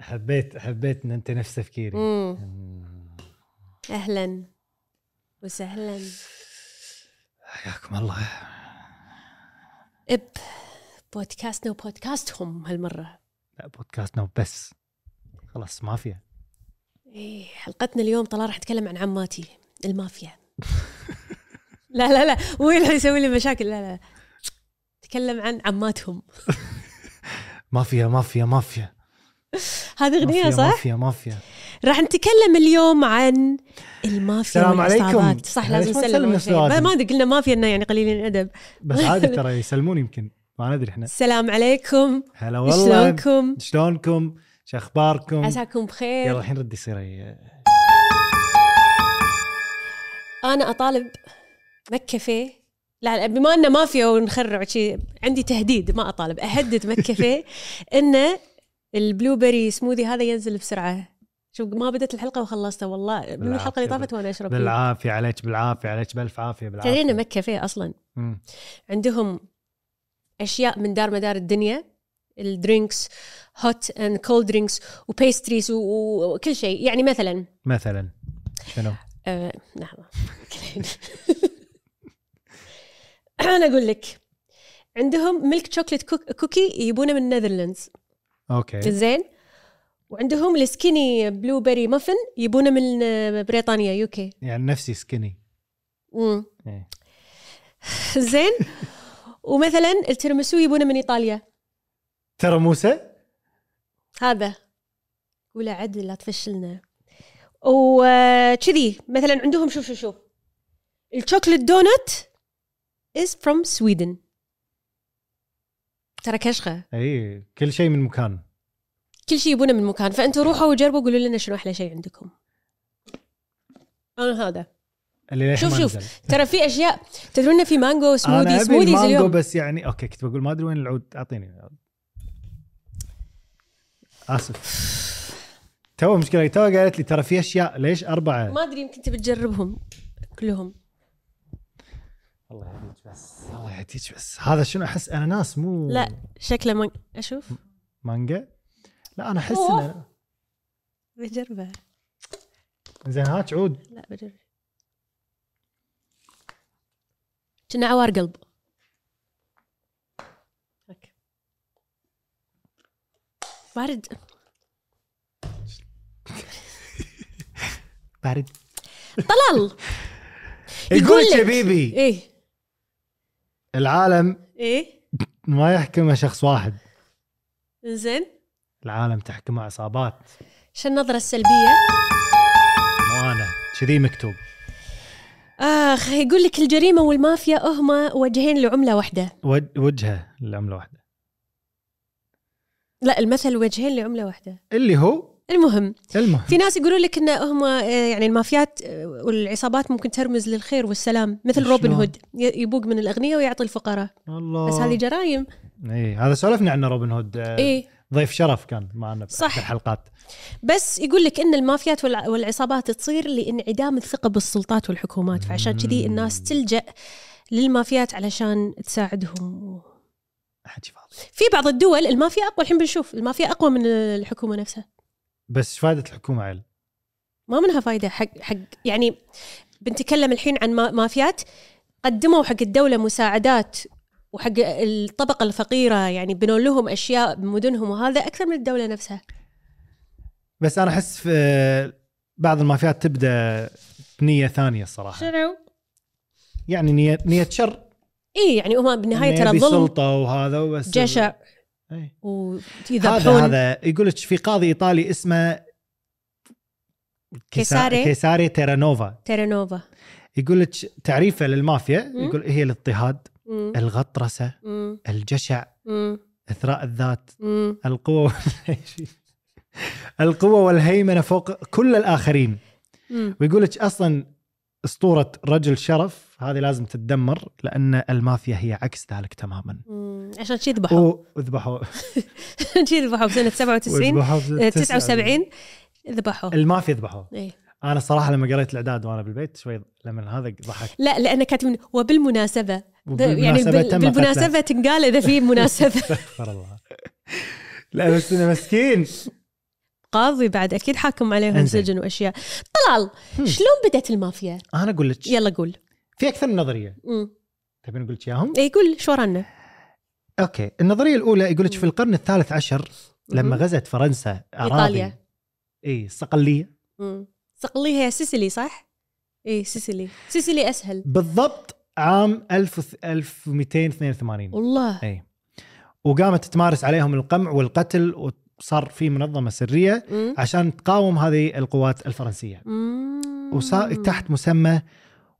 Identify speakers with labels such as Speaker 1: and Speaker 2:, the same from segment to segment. Speaker 1: حبيت حبيت ان انت نفس تفكيري
Speaker 2: مم.
Speaker 1: أمم،
Speaker 2: اهلا وسهلا
Speaker 1: آه، حياكم الله
Speaker 2: اب بودكاستنا وبودكاستهم هالمره
Speaker 1: لا بودكاستنا بس خلاص مافيا
Speaker 2: إيه حلقتنا اليوم طلال راح نتكلم عن عماتي المافيا لا لا لا وين راح يسوي لي مشاكل لا لا نتكلم عن عماتهم
Speaker 1: مافيا مافيا مافيا
Speaker 2: هذه اغنيه
Speaker 1: مافيا
Speaker 2: صح؟
Speaker 1: مافيا مافيا
Speaker 2: راح نتكلم اليوم عن المافيا
Speaker 1: السلام عليكم.
Speaker 2: والعصابات صح
Speaker 1: ليش
Speaker 2: لازم
Speaker 1: ما نسلم
Speaker 2: نسلم أول شيء.
Speaker 1: نفس
Speaker 2: ما ادري قلنا مافيا انه يعني قليلين الادب
Speaker 1: بس عادي ترى يسلمون يمكن ما ندري احنا
Speaker 2: السلام عليكم
Speaker 1: هلا نعم. والله
Speaker 2: شلونكم؟
Speaker 1: شلونكم؟ شو اخباركم؟
Speaker 2: عساكم بخير
Speaker 1: يلا الحين ردي صيري
Speaker 2: انا اطالب مكفي لا لا، بما انه مافيا ونخرع شيء عندي تهديد ما اطالب اهدد مكفي انه البلو بيري سموذي هذا ينزل بسرعه شو ما بدت الحلقه وخلصتها والله من الحلقه
Speaker 1: بالعافية،
Speaker 2: اللي طافت وانا اشرب فيه.
Speaker 1: بالعافيه عليك بالعافيه عليك بالف عافيه بالعافيه
Speaker 2: تدرين إن مكفي اصلا
Speaker 1: مم.
Speaker 2: عندهم اشياء من دار مدار الدنيا الدرينكس هوت اند كولد درينكس وبيستريز وكل شيء يعني مثلا
Speaker 1: مثلا شنو؟
Speaker 2: آه، لحظة أنا أقول لك عندهم ميلك شوكليت كوك- كوكي يجيبونه من النذرلندز
Speaker 1: اوكي
Speaker 2: زين وعندهم السكيني بلو بيري مافن يجيبونه من آه، بريطانيا يوكي
Speaker 1: يعني نفسي سكني إيه.
Speaker 2: زين ومثلا التيرمسو يجيبونه من ايطاليا
Speaker 1: ترى موسى
Speaker 2: هذا ولا عدل لا تفشلنا وكذي مثلا عندهم شوف شوف شوف الشوكليت دونت از فروم سويدن ترى كشخه
Speaker 1: اي كل شيء من مكان
Speaker 2: كل شيء يبونه من مكان فانتوا روحوا وجربوا قولوا لنا شنو احلى شيء عندكم انا هذا
Speaker 1: اللي للحين
Speaker 2: شوف
Speaker 1: ما
Speaker 2: شوف
Speaker 1: نزل.
Speaker 2: ترى في اشياء تدرون إن في مانجو
Speaker 1: انا
Speaker 2: سموذي
Speaker 1: ابي
Speaker 2: سموذيز
Speaker 1: المانجو
Speaker 2: اليوم
Speaker 1: بس يعني اوكي كنت بقول ما ادري وين العود اعطيني العود اسف تو مشكله تو قالت لي ترى في اشياء ليش اربعه
Speaker 2: ما ادري يمكن تبي تجربهم كلهم
Speaker 1: الله يهديك بس الله يهديك بس هذا شنو احس اناناس مو
Speaker 2: لا شكله مانج... اشوف
Speaker 1: مانجا لا انا احس
Speaker 2: أوه.
Speaker 1: انه
Speaker 2: بجربه
Speaker 1: زين هات عود
Speaker 2: لا بجرب كنا عوار قلب هيك. بارد
Speaker 1: بارد
Speaker 2: طلال
Speaker 1: يقول
Speaker 2: لك.
Speaker 1: يا بيبي
Speaker 2: ايه
Speaker 1: العالم
Speaker 2: ايه
Speaker 1: ما يحكمه شخص واحد
Speaker 2: زين
Speaker 1: العالم تحكمه عصابات
Speaker 2: شو النظرة السلبية؟
Speaker 1: مو انا كذي مكتوب
Speaker 2: اخ يقول لك الجريمة والمافيا هما وجهين لعملة واحدة
Speaker 1: ود- وجهه العمله واحده
Speaker 2: لا المثل وجهين لعملة واحدة
Speaker 1: اللي هو
Speaker 2: المهم
Speaker 1: المهم
Speaker 2: في ناس يقولون لك ان هما آه، يعني المافيات آه، والعصابات ممكن ترمز للخير والسلام مثل
Speaker 1: شلون؟
Speaker 2: روبن هود ي- يبوق من الاغنياء ويعطي الفقراء
Speaker 1: الله
Speaker 2: بس هذه جرايم
Speaker 1: اي إيه، هذا سولفنا عنه روبن هود آه،
Speaker 2: اي
Speaker 1: ضيف شرف كان معنا
Speaker 2: صح.
Speaker 1: باحد الحلقات
Speaker 2: بس يقول لك ان المافيات والع- والعصابات تصير لانعدام الثقه بالسلطات والحكومات فعشان كذي الناس تلجا للمافيات علشان تساعدهم
Speaker 1: حكي فاضي
Speaker 2: في بعض الدول المافيا اقوى الحين بنشوف المافيا اقوى من الحكومه نفسها
Speaker 1: بس ايش فائده الحكومه عيل
Speaker 2: ما منها فايده حق حق يعني بنتكلم الحين عن ما- مافيات قدموا حق الدوله مساعدات وحق الطبقه الفقيره يعني بنوا لهم اشياء بمدنهم وهذا اكثر من الدوله نفسها
Speaker 1: بس انا احس في آه، بعض المافيات تبدا بنيه ثانيه الصراحه
Speaker 2: شنو؟
Speaker 1: يعني نيه نيه شر
Speaker 2: اي يعني هم بالنهايه
Speaker 1: إنه
Speaker 2: ترى
Speaker 1: يبي
Speaker 2: ظلم
Speaker 1: سلطه وهذا بس
Speaker 2: جشع
Speaker 1: إي. هذا
Speaker 2: ويذبحون
Speaker 1: هذا يقول لك في قاضي ايطالي اسمه
Speaker 2: كيساري.
Speaker 1: كيساري تيرانوفا
Speaker 2: تيرانوفا
Speaker 1: يقول لك تعريفه للمافيا
Speaker 2: مم.
Speaker 1: يقول هي الاضطهاد
Speaker 2: مم.
Speaker 1: الغطرسه
Speaker 2: مم.
Speaker 1: الجشع
Speaker 2: مم.
Speaker 1: اثراء الذات
Speaker 2: مم.
Speaker 1: القوة والهي- القوة والهيمنة فوق كل الآخرين
Speaker 2: مم.
Speaker 1: ويقول لك أصلا أسطورة رجل شرف هذه لازم تتدمر لأن المافيا هي عكس ذلك تماما
Speaker 2: مم. عشان شي ذبحوا
Speaker 1: و- وذبحوا
Speaker 2: عشان شي ذبحوا بسنه 97
Speaker 1: وذبحوا
Speaker 2: آه،
Speaker 1: في
Speaker 2: 79 ذبحوا
Speaker 1: المافيا ذبحوا
Speaker 2: إيه.
Speaker 1: أنا صراحة لما قريت الإعداد وأنا بالبيت شوي لما هذا ضحك
Speaker 2: لا لانه كاتب من- وبالمناسبه ب- يعني
Speaker 1: وبالمناسبة
Speaker 2: بال-
Speaker 1: تم قتله.
Speaker 2: بالمناسبه تنقال اذا في مناسبه
Speaker 1: استغفر الله لا بس انه مسكين
Speaker 2: قاضي بعد اكيد حاكم عليهم
Speaker 1: إنزين.
Speaker 2: سجن واشياء طلال
Speaker 1: هم.
Speaker 2: شلون بدت المافيا
Speaker 1: انا اقول لك
Speaker 2: يلا قول
Speaker 1: في اكثر من نظريه
Speaker 2: امم
Speaker 1: تبين اقول لك اياهم
Speaker 2: اي قول شو رانا
Speaker 1: اوكي النظريه الاولى يقول لك في القرن الثالث عشر لما
Speaker 2: مهم.
Speaker 1: غزت فرنسا اراضي
Speaker 2: إيطاليا.
Speaker 1: اي الصقليه
Speaker 2: مم. صقلية سيسيلي صح اي سيسيلي سيسيلي اسهل
Speaker 1: بالضبط عام 1000 1282
Speaker 2: والله
Speaker 1: اي وقامت تمارس عليهم القمع والقتل وصار في منظمه سريه
Speaker 2: مم.
Speaker 1: عشان تقاوم هذه القوات الفرنسيه
Speaker 2: مم.
Speaker 1: وصار تحت مسمى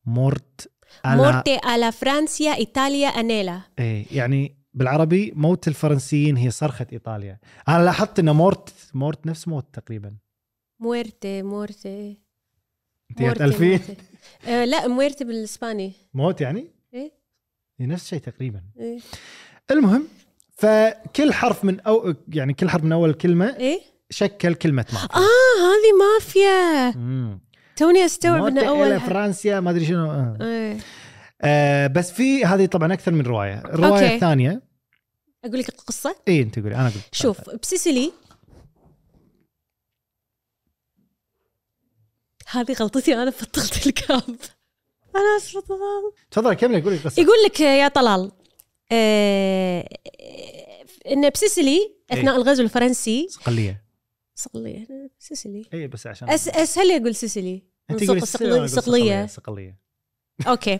Speaker 1: مورت على
Speaker 2: مورتي على فرانسيا ايطاليا انيلا
Speaker 1: اي يعني بالعربي موت الفرنسيين هي صرخه ايطاليا انا لاحظت ان مورت مورت نفس موت تقريبا
Speaker 2: مورتي مورتي
Speaker 1: انت جات 2000
Speaker 2: مورتي. آه لا مورتي بالاسباني
Speaker 1: موت يعني
Speaker 2: إيه.
Speaker 1: هي نفس الشيء تقريبا
Speaker 2: ايه
Speaker 1: المهم فكل حرف من أو يعني كل حرف من اول كلمه
Speaker 2: ايه
Speaker 1: شكل كلمه مافيا
Speaker 2: اه هذه مافيا
Speaker 1: آه.
Speaker 2: توني استوعب ان اول ح-
Speaker 1: فرنسيا ما ادري شنو آه.
Speaker 2: إيه.
Speaker 1: آه بس في هذه طبعا اكثر من روايه الروايه
Speaker 2: أوكي.
Speaker 1: الثانيه
Speaker 2: اقول لك القصه
Speaker 1: اي انت إيه، قولي انا اقول
Speaker 2: شوف بسيسيلي هذه غلطتي انا فطلت الكاب انا اسفه طلال
Speaker 1: تفضل كملي قولي القصه
Speaker 2: يقول لك يا طلال آه، ان بسيسيلي اثناء
Speaker 1: إيه.
Speaker 2: الغزو الفرنسي
Speaker 1: صقليه
Speaker 2: صقلية سيسيلي
Speaker 1: اي إيه، بس عشان
Speaker 2: أس اسهل يقول سيسيلي
Speaker 1: انت
Speaker 2: صق-
Speaker 1: قولي
Speaker 2: صقل-
Speaker 1: صقليه صقليه
Speaker 2: صقليه
Speaker 1: صقليه
Speaker 2: اوكي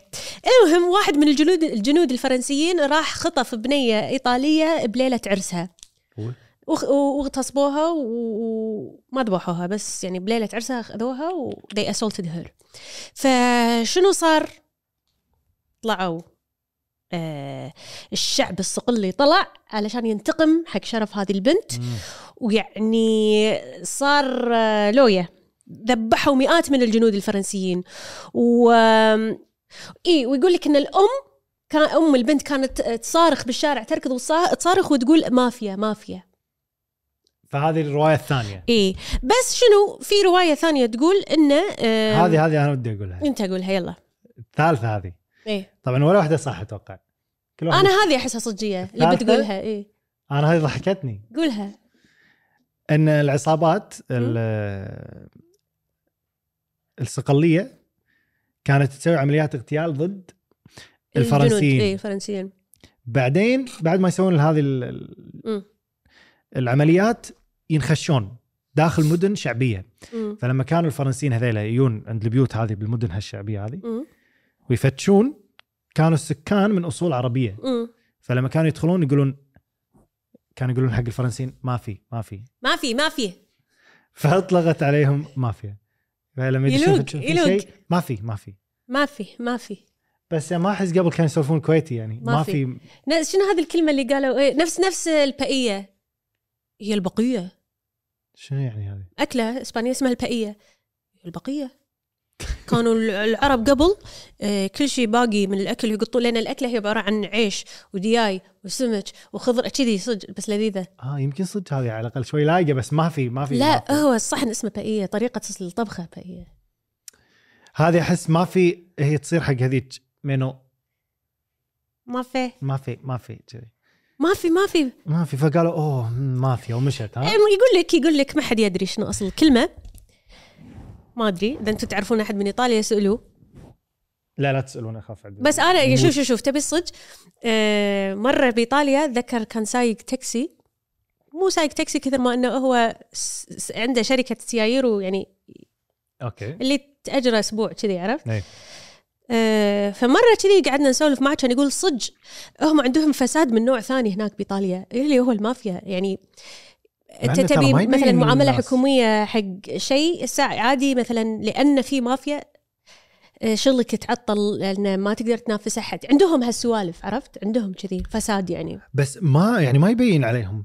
Speaker 2: المهم واحد من الجنود الجنود الفرنسيين راح خطف بنيه ايطاليه بليله عرسها
Speaker 1: أوه.
Speaker 2: وخ- و- واغتصبوها و- وما ذبحوها بس يعني بليله عرسها اخذوها و they assaulted her فشنو صار؟ طلعوا آه الشعب الصقلي طلع علشان ينتقم حق شرف هذه البنت
Speaker 1: مم.
Speaker 2: ويعني صار آه، لوية ذبحوا مئات من الجنود الفرنسيين و آم، إيه ويقول لك ان الام كان ام البنت كانت تصارخ بالشارع تركض وتصا- تصارخ وتقول مافيا مافيا
Speaker 1: فهذه الروايه الثانيه
Speaker 2: اي بس شنو في روايه ثانيه تقول انه آم،
Speaker 1: هذه هذه انا ودي اقولها
Speaker 2: انت قولها يلا
Speaker 1: الثالثه هذه
Speaker 2: ايه
Speaker 1: طبعا ولا واحده صح اتوقع كل واحده
Speaker 2: انا هذه احسها صجيه اللي
Speaker 1: الثالثة؟
Speaker 2: بتقولها اي
Speaker 1: انا هذه ضحكتني
Speaker 2: قولها
Speaker 1: ان العصابات ال- الصقليه كانت تسوي عمليات اغتيال ضد الفرنسيين.
Speaker 2: اي الفرنسيين
Speaker 1: بعدين بعد ما يسوون هذه ال- ال-
Speaker 2: مم.
Speaker 1: العمليات ينخشون داخل مدن شعبيه
Speaker 2: مم.
Speaker 1: فلما كانوا الفرنسيين هذيلا يجون عند البيوت هذه بالمدن هالشعبيه هذه
Speaker 2: مم.
Speaker 1: ويفتشون كانوا السكان من اصول عربيه
Speaker 2: مم.
Speaker 1: فلما كانوا يدخلون يقولون كانوا يقولون حق الفرنسيين ما في ما في
Speaker 2: ما في ما في
Speaker 1: فاطلقت عليهم مافيا فلما يدشون
Speaker 2: يلوق-
Speaker 1: يفتشون في
Speaker 2: يلوق.
Speaker 1: شيء، ما في ما في
Speaker 2: ما في ما في
Speaker 1: بس ما احس قبل كانوا يسولفون كويتي يعني
Speaker 2: ما
Speaker 1: ما,
Speaker 2: في.
Speaker 1: في.
Speaker 2: ن- شنو هذه الكلمة اللي قالوا إيه نفس نفس البائية هي البقية
Speaker 1: شنو يعني هذه؟
Speaker 2: أكلة إسبانية اسمها البائية البقية كانوا ال- العرب قبل آه، كل شيء باقي من الأكل يقطوا لنا الأكلة هي عبارة عن عيش ودياي وسمك وخضر كذي صدق بس لذيذة
Speaker 1: اه يمكن صدق هذه على الاقل شوي لايقه بس ما في ما في ما
Speaker 2: لا أه.
Speaker 1: في.
Speaker 2: هو الصحن اسمه بائية طريقة الطبخة بائية
Speaker 1: هذه احس ما في هي تصير حق هذيك منو
Speaker 2: ما في
Speaker 1: ما في ما في كذي
Speaker 2: ما في ما في
Speaker 1: ما في فقالوا اوه مم، ما في ومشت ها
Speaker 2: أم- يقول لك يقول لك ما حد يدري شنو اصل الكلمه ما ادري اذا انتم تعرفون احد من ايطاليا اسالوه
Speaker 1: لا لا تسالون اخاف عدل
Speaker 2: بس انا شوف شوف شوف تبي الصج آه مره بايطاليا اتذكر كان سايق تاكسي مو سايق تاكسي كثر ما انه هو س- س- عنده شركه سيايير ويعني
Speaker 1: اوكي
Speaker 2: اللي تاجره اسبوع كذي عرفت؟
Speaker 1: إيه.
Speaker 2: آه فمره كذي قعدنا نسولف معه كان يقول صج هم عندهم فساد من نوع ثاني هناك بايطاليا اللي هو المافيا يعني انت
Speaker 1: إنه ترى
Speaker 2: تبي
Speaker 1: ما يبين
Speaker 2: مثلا معامله
Speaker 1: للناس.
Speaker 2: حكوميه حق شيء الساعة عادي مثلا لان في مافيا آه، شغلك تعطل لان ما تقدر تنافس احد عندهم هالسوالف عرفت عندهم كذي فساد يعني
Speaker 1: بس ما يعني ما يبين عليهم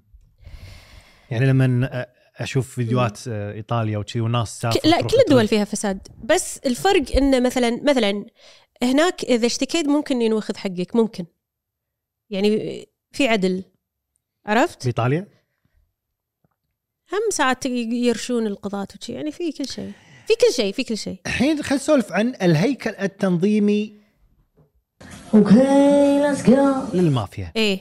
Speaker 1: يعني لما أ- اشوف فيديوهات آه، ايطاليا وشي وناس
Speaker 2: ك-
Speaker 1: سافر
Speaker 2: لا كل الدول فيها فساد بس الفرق انه مثلا مثلا هناك اذا اشتكيت ممكن ينوخذ حقك ممكن يعني في عدل عرفت؟
Speaker 1: بايطاليا
Speaker 2: هم ساعات يرشون القضاة وشي يعني في كل شيء في كل شيء في كل شيء
Speaker 1: الحين خلينا نسولف عن الهيكل التنظيمي
Speaker 3: Okay, let's go.
Speaker 1: للمافيا
Speaker 2: ايه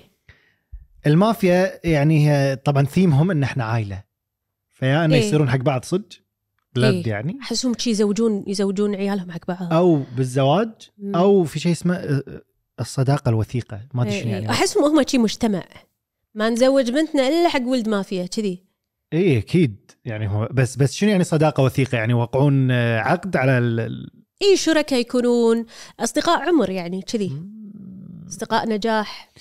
Speaker 1: المافيا يعني هي طبعا ثيمهم ان احنا عائله فيا انه
Speaker 2: إيه.
Speaker 1: يصيرون حق بعض صدق بلد
Speaker 2: إيه.
Speaker 1: يعني
Speaker 2: احسهم شي يزوجون يزوجون عيالهم حق بعض
Speaker 1: او بالزواج
Speaker 2: مم.
Speaker 1: او في شيء اسمه آه، آه، الصداقه الوثيقه ما ادري
Speaker 2: إيه،
Speaker 1: شنو
Speaker 2: إيه.
Speaker 1: يعني
Speaker 2: احسهم هم شي مجتمع ما نزوج بنتنا الا حق ولد مافيا كذي
Speaker 1: اي اكيد يعني هو بس بس شنو يعني صداقه وثيقه يعني يوقعون آه، عقد على ال... ال-
Speaker 2: اي إيه، شركاء يكونون اصدقاء عمر يعني كذي
Speaker 1: مم.
Speaker 2: اصدقاء نجاح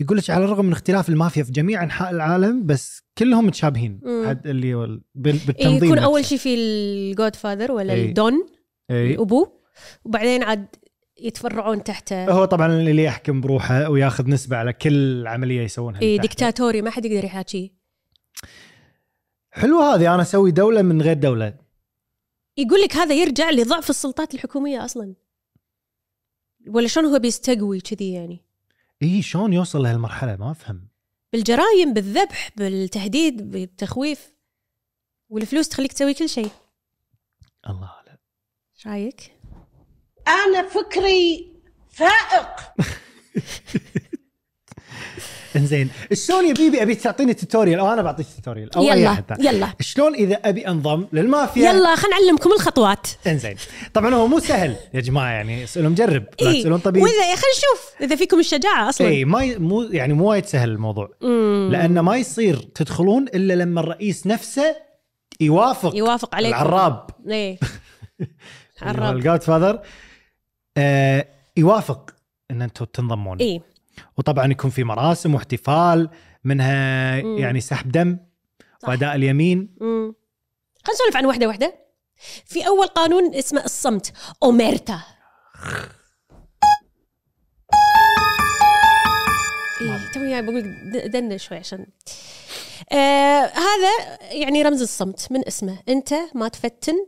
Speaker 1: يقول لك على الرغم من اختلاف المافيا في جميع انحاء العالم بس كلهم متشابهين
Speaker 2: مم.
Speaker 1: حد اللي هو ال- بال-
Speaker 2: إيه
Speaker 1: بالتنظيم
Speaker 2: يكون اول شي في الجود فاذر ولا
Speaker 1: إيه.
Speaker 2: الدون
Speaker 1: اي
Speaker 2: ابوه وبعدين عاد يتفرعون تحته
Speaker 1: هو طبعا اللي يحكم بروحه وياخذ نسبه على كل عمليه يسوونها اللي
Speaker 2: إيه
Speaker 1: تحته.
Speaker 2: ديكتاتوري ما حد يقدر يحاكيه
Speaker 1: حلوه هذه انا اسوي دوله من غير دوله
Speaker 2: يقول لك هذا يرجع لضعف السلطات الحكوميه اصلا ولا شلون هو بيستقوي كذي يعني
Speaker 1: اي شلون يوصل لهالمرحله ما افهم
Speaker 2: بالجرائم بالذبح بالتهديد بالتخويف والفلوس تخليك تسوي كل شيء
Speaker 1: الله لا
Speaker 2: ايش رايك
Speaker 3: أنا فكري فائق
Speaker 1: انزين شلون يا بيبي ابي تعطيني توتوريال او انا بعطيك توتوريال او اي
Speaker 2: يلا
Speaker 1: احد ثاني.
Speaker 2: يلا
Speaker 1: شلون اذا ابي انضم للمافيا
Speaker 2: يلا خلينا نعلمكم الخطوات
Speaker 1: انزين طبعا هو مو سهل يا جماعه يعني اسالهم مجرب لا
Speaker 2: اي
Speaker 1: تسالون طبيب
Speaker 2: واذا خلينا إيه. نشوف اذا فيكم الشجاعه اصلا
Speaker 1: اي ما ي- مو يعني مو وايد سهل الموضوع
Speaker 2: مم.
Speaker 1: لانه ما يصير تدخلون الا لما الرئيس نفسه يوافق,
Speaker 2: يوافق عليك
Speaker 1: العراب
Speaker 2: ايه العراب
Speaker 1: الجاد فاذر آه يوافق ان انتم تنضمون
Speaker 2: اي
Speaker 1: وطبعا يكون في مراسم واحتفال منها
Speaker 2: مم.
Speaker 1: يعني سحب دم
Speaker 2: صح.
Speaker 1: واداء اليمين
Speaker 2: مم. خلينا نسولف عن واحده واحده في اول قانون اسمه الصمت اوميرتا ايه توي جاي بقول لك دنا شوي عشان آه هذا يعني رمز الصمت من اسمه انت ما تفتن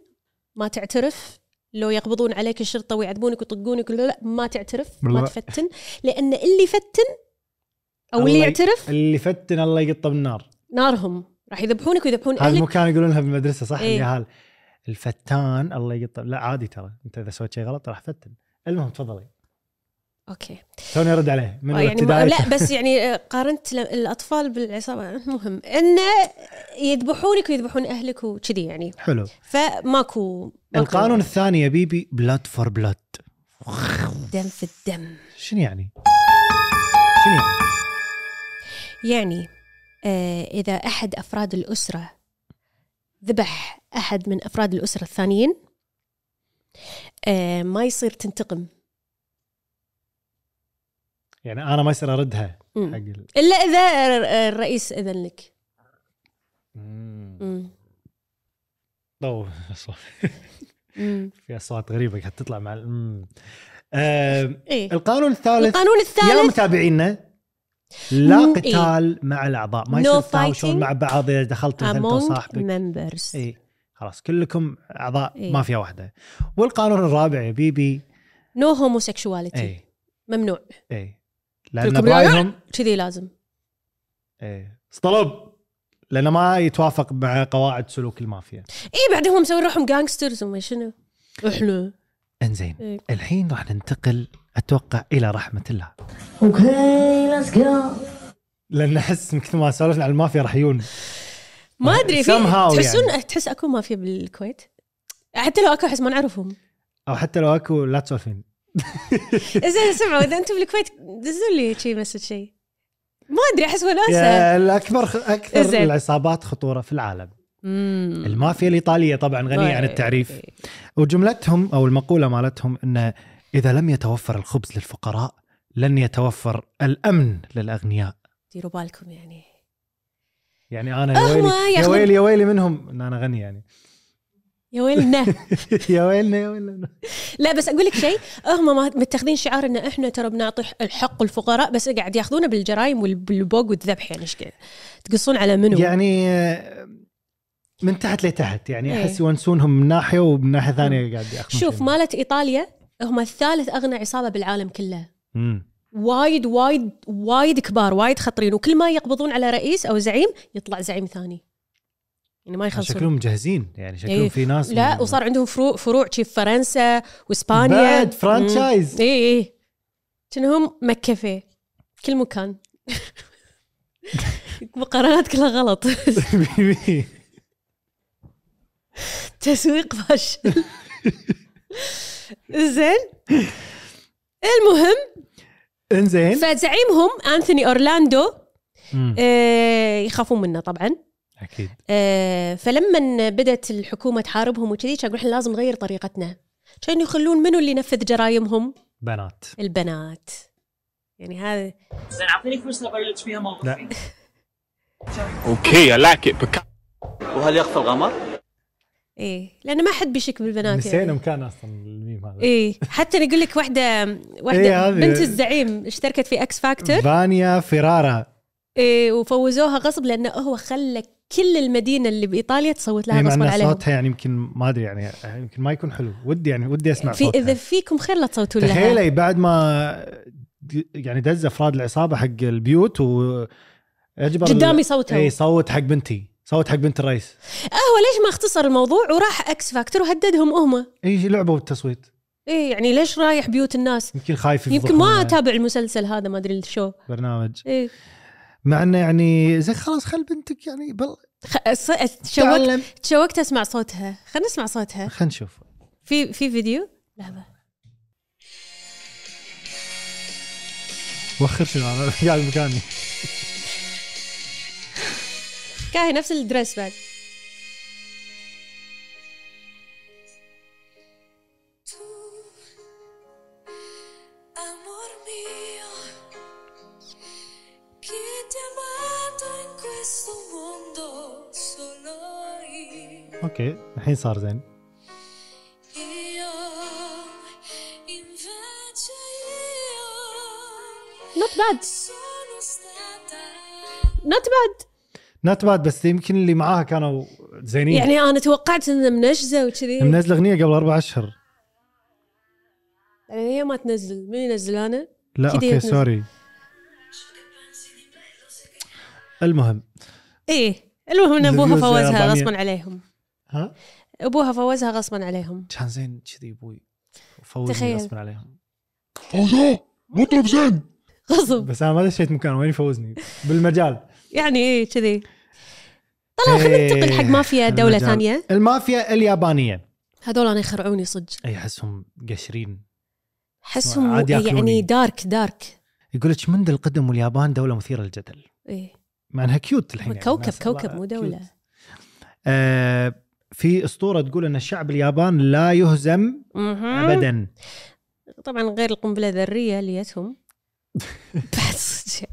Speaker 2: ما تعترف لو يقبضون عليك الشرطه ويعذبونك ويطقونك لا لا ما تعترف ما
Speaker 1: والله.
Speaker 2: تفتن لان اللي يفتن او اللي
Speaker 1: الله ي-
Speaker 2: يعترف
Speaker 1: اللي فتن الله يقطه بالنار
Speaker 2: نارهم راح يذبحونك ويذبحون
Speaker 1: هذا
Speaker 2: اهلك
Speaker 1: مو كانوا يقولونها بالمدرسه صح
Speaker 2: إيه.
Speaker 1: اليهال الفتان الله يقطه لا عادي ترى انت اذا سويت شيء غلط راح تفتن المهم تفضلي
Speaker 2: اوكي
Speaker 1: توني ارد عليه من
Speaker 2: آه، يعني ما-
Speaker 1: الابتدائي
Speaker 2: لا بس يعني آه، قارنت ل- الاطفال بالعصابه المهم انه يذبحونك ويذبحون اهلك وكذي يعني
Speaker 1: حلو
Speaker 2: فماكو ماكو
Speaker 1: القانون الثاني يا بيبي بلاد فور بلاد
Speaker 2: دم في الدم
Speaker 1: شنو يعني؟ شنو يعني؟
Speaker 2: يعني آه اذا احد افراد الاسره ذبح احد من افراد الاسره الثانيين آه ما يصير تنتقم
Speaker 1: يعني انا ما يصير اردها
Speaker 2: مم.
Speaker 1: حق ال...
Speaker 2: الا اذا ر- الرئيس اذن لك
Speaker 1: مم.
Speaker 2: مم.
Speaker 1: طو أصوات-
Speaker 2: مم.
Speaker 1: في اصوات غريبه قاعد تطلع مع ال- مم. آه
Speaker 2: إيه.
Speaker 1: القانون الثالث
Speaker 2: القانون
Speaker 1: يا
Speaker 2: الثالث
Speaker 1: متابعينا لا
Speaker 2: مم، إيه.
Speaker 1: قتال مع الاعضاء ما
Speaker 2: No
Speaker 1: يصير تهاوشون
Speaker 2: fighting
Speaker 1: مع بعض اذا دخلت مثلا انت
Speaker 2: among
Speaker 1: وصاحبك
Speaker 2: members
Speaker 1: اي إيه، خلاص كلكم اعضاء
Speaker 2: إيه.
Speaker 1: ما فيها واحده والقانون الرابع يا بيبي
Speaker 2: نو هوموسيكشواليتي
Speaker 1: اي
Speaker 2: ممنوع
Speaker 1: اي لان
Speaker 2: كلكم
Speaker 1: إيه. برايهم
Speaker 2: كذي لازم
Speaker 1: ايه اصطلب لانه ما يتوافق مع قواعد سلوك المافيا
Speaker 2: اي بعدين هم مسوين إيه، روحهم جانجسترز وما شنو احنا
Speaker 1: انزين
Speaker 2: إيه.
Speaker 1: الحين راح ننتقل اتوقع الى رحمه الله
Speaker 3: Okay, let's go
Speaker 1: لان احس من كثر ما سولفنا عن المافيا راح يون
Speaker 2: ما ادري في
Speaker 1: Somehow يعني.
Speaker 2: تحسون تحس اكو مافيا بالكويت حتى لو اكو احس ما نعرفهم
Speaker 1: او حتى لو اكو لا تسولفين
Speaker 2: زين سمعوا اذا انتم بالكويت دزوا لي شي مسج شي ما ادري احس وناسه
Speaker 1: يا الاكبر خ- اكثر
Speaker 2: أه. إيه، زين.
Speaker 1: العصابات خطوره في العالم
Speaker 2: مم.
Speaker 1: المافيا الايطاليه طبعا غنيه عن يعني التعريف
Speaker 2: إيه.
Speaker 1: وجملتهم او المقوله مالتهم انه اذا لم يتوفر الخبز للفقراء لن يتوفر الامن للاغنياء
Speaker 2: ديروا بالكم يعني
Speaker 1: يعني انا يا
Speaker 2: أهما
Speaker 1: ويلي يا
Speaker 2: ياخذون-
Speaker 1: ويلي يا ويلي منهم ان انا غني يعني
Speaker 2: يا ويلنا
Speaker 1: يا ويلنا يا ويلنا
Speaker 2: لا بس اقول لك شيء هم ما- متخذين شعار ان احنا ترى بنعطي الحق الفقراء بس قاعد ياخذونه بالجرايم والبوق والذبح يعني ايش قاعد- تقصون على منو
Speaker 1: يعني آه، من تحت لتحت يعني
Speaker 2: إيه.
Speaker 1: احس يونسونهم من ناحيه ومن ناحيه ثانيه قاعد ياخذون
Speaker 2: شوف مالت ايطاليا هم الثالث اغنى عصابه بالعالم كله
Speaker 1: امم
Speaker 2: وايد وايد وايد كبار وايد خطرين وكل ما يقبضون على رئيس او زعيم يطلع زعيم ثاني يعني ما يخلصون
Speaker 1: شكلهم مجهزين يعني شكلهم
Speaker 2: إيه.
Speaker 1: في ناس
Speaker 2: لا
Speaker 1: من-
Speaker 2: وصار عندهم فروع فروع شي في فرنسا واسبانيا
Speaker 1: بعد فرانشايز.
Speaker 2: اي اي إيه، كأنهم مكفي كل إيه. مكان مقارنات كلها غلط تسويق فاشل زين المهم
Speaker 1: انزين
Speaker 2: فزعيمهم انثوني اورلاندو
Speaker 1: مم.
Speaker 2: آه، يخافون منه طبعا
Speaker 1: اكيد
Speaker 2: آه، فلما بدت الحكومه تحاربهم وكذي كانوا يقولون إحنا لازم نغير طريقتنا كانوا يخلون منو اللي ينفذ جرايمهم
Speaker 1: بنات
Speaker 2: البنات يعني هذا
Speaker 4: زين اعطيني فرصه ابلش فيها موقفي
Speaker 1: لا.
Speaker 5: Okay, I like it. Because
Speaker 4: وهل يخفى القمر؟
Speaker 2: ايه لانه ما حد بيشك بالبنات
Speaker 1: نسينا
Speaker 2: يعني
Speaker 1: مكان اصلا الميم هذا
Speaker 2: ايه حتى نقول لك واحده
Speaker 1: طيب.
Speaker 2: واحده
Speaker 1: إيه،
Speaker 2: إيه
Speaker 1: هذه-
Speaker 2: بنت الزعيم اشتركت في اكس فاكتور
Speaker 1: فانيا فرارا
Speaker 2: إيه وفوزوها غصب لانه هو خلى كل المدينه اللي بايطاليا تصوت لها
Speaker 1: هي مع
Speaker 2: غصبا
Speaker 1: إن
Speaker 2: عليهم
Speaker 1: صوتها يعني يمكن ما ادري يعني يمكن ما يكون حلو ودي يعني ودي اسمع
Speaker 2: في اذا
Speaker 1: صوتها
Speaker 2: فيكم خير لا تصوتوا لها
Speaker 1: تخيلي بعد ما د- يعني دز افراد العصابه حق البيوت و اجبر
Speaker 2: قدامي صوتها
Speaker 1: اي صوت حق بنتي صوت حق بنت الرئيس
Speaker 2: هو ليش ما اختصر الموضوع وراح اكس فاكتور وهددهم هم
Speaker 1: اي لعبوا بالتصويت
Speaker 2: ايه يعني ليش رايح بيوت الناس
Speaker 1: يمكن خايف
Speaker 2: يمكن
Speaker 1: يفضحونا
Speaker 2: ما اتابع المسلسل هذا ما ادري الشو
Speaker 1: برنامج
Speaker 2: ايه
Speaker 1: مع انه يعني زي خلاص خل بنتك يعني بل
Speaker 2: خ- أص- تشوقت
Speaker 1: تعلم
Speaker 2: تشوقت اسمع صوتها خلينا نسمع صوتها
Speaker 1: خلينا نشوف
Speaker 2: في في فيديو لحظه
Speaker 1: وخر شنو انا قاعد مكاني
Speaker 2: كاهي نفس الدرس بعد
Speaker 6: Amor mio, chi ti ha amato in questo mondo solo io.
Speaker 1: اوكي الحين صار زين
Speaker 6: Io, invece io,
Speaker 2: نوت باد
Speaker 6: sono stata
Speaker 2: نوت باد
Speaker 1: نوت باد بس يمكن اللي معاها كانوا زينين يعني
Speaker 2: يعني انا توقعت انها منشزه وكذي يعني
Speaker 1: منزل اغنيه قبل اربع اشهر
Speaker 2: يعني هي ما تنزل من ينزل انا
Speaker 1: لا
Speaker 2: كذي
Speaker 1: اوكي
Speaker 2: يتنزل.
Speaker 1: سوري المهم
Speaker 2: ايه المهم ان ابوها
Speaker 1: الفيوز
Speaker 2: فوزها
Speaker 1: 400.
Speaker 2: غصبا عليهم
Speaker 1: ها
Speaker 2: ابوها فوزها غصبا عليهم
Speaker 1: كان زين كذي ابوي فوزني
Speaker 2: تخيل.
Speaker 1: غصبا عليهم
Speaker 2: غصب
Speaker 1: بس انا ما دشيت مكان وين يفوزني بالمجال
Speaker 2: يعني ايه كذي طلع خلينا ننتقل حق مافيا دوله
Speaker 1: المجال.
Speaker 2: ثانيه
Speaker 1: المافيا اليابانيه
Speaker 2: هذول انا يخرعوني صدق
Speaker 1: اي احسهم قشرين
Speaker 2: احسهم
Speaker 1: عاد ياكلوني.
Speaker 2: يعني دارك دارك
Speaker 1: يقول لك منذ القدم واليابان دوله مثيره للجدل
Speaker 2: ايه
Speaker 1: مع انها كيوت الحين يعني
Speaker 2: كوكب
Speaker 1: الناس-
Speaker 2: كوكب
Speaker 1: الله،
Speaker 2: مو
Speaker 1: كيوت.
Speaker 2: دوله
Speaker 1: آه في اسطوره تقول ان الشعب اليابان لا يهزم
Speaker 2: مهم.
Speaker 1: ابدا
Speaker 2: طبعا غير القنبله الذريه اللي جتهم بس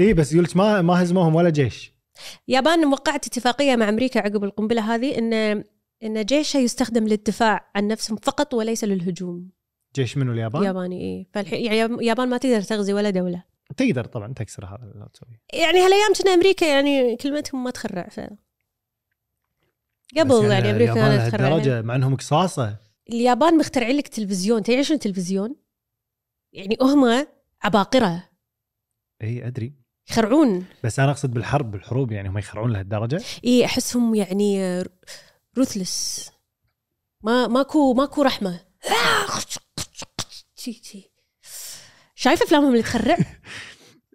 Speaker 1: اي بس يقول لك ما ما هزموهم ولا جيش
Speaker 2: اليابان وقعت اتفاقيه مع امريكا عقب القنبله هذه ان ان جيشها يستخدم للدفاع عن نفسهم فقط وليس للهجوم
Speaker 1: جيش منو اليابان؟
Speaker 2: ياباني ايه فالحين يعني اليابان ما تقدر تغزي ولا دوله
Speaker 1: تقدر طبعا تكسر هذا لو تسوي
Speaker 2: يعني هالايام كنا امريكا يعني كلمتهم ما تخرع ف
Speaker 1: بس
Speaker 2: قبل يعني امريكا
Speaker 1: اليابان
Speaker 2: كانت تخرع
Speaker 1: لهالدرجة مع انهم قصاصه
Speaker 2: اليابان مخترعين لك تلفزيون تدري شنو تلفزيون؟ يعني هم عباقره
Speaker 1: اي ادري
Speaker 2: يخرعون
Speaker 1: بس انا اقصد بالحرب بالحروب يعني هم يخرعون لهالدرجه
Speaker 2: اي احسهم إيه، يعني روثلس ما ماكو ماكو رحمه شي- شي. شايف افلامهم اللي تخرع؟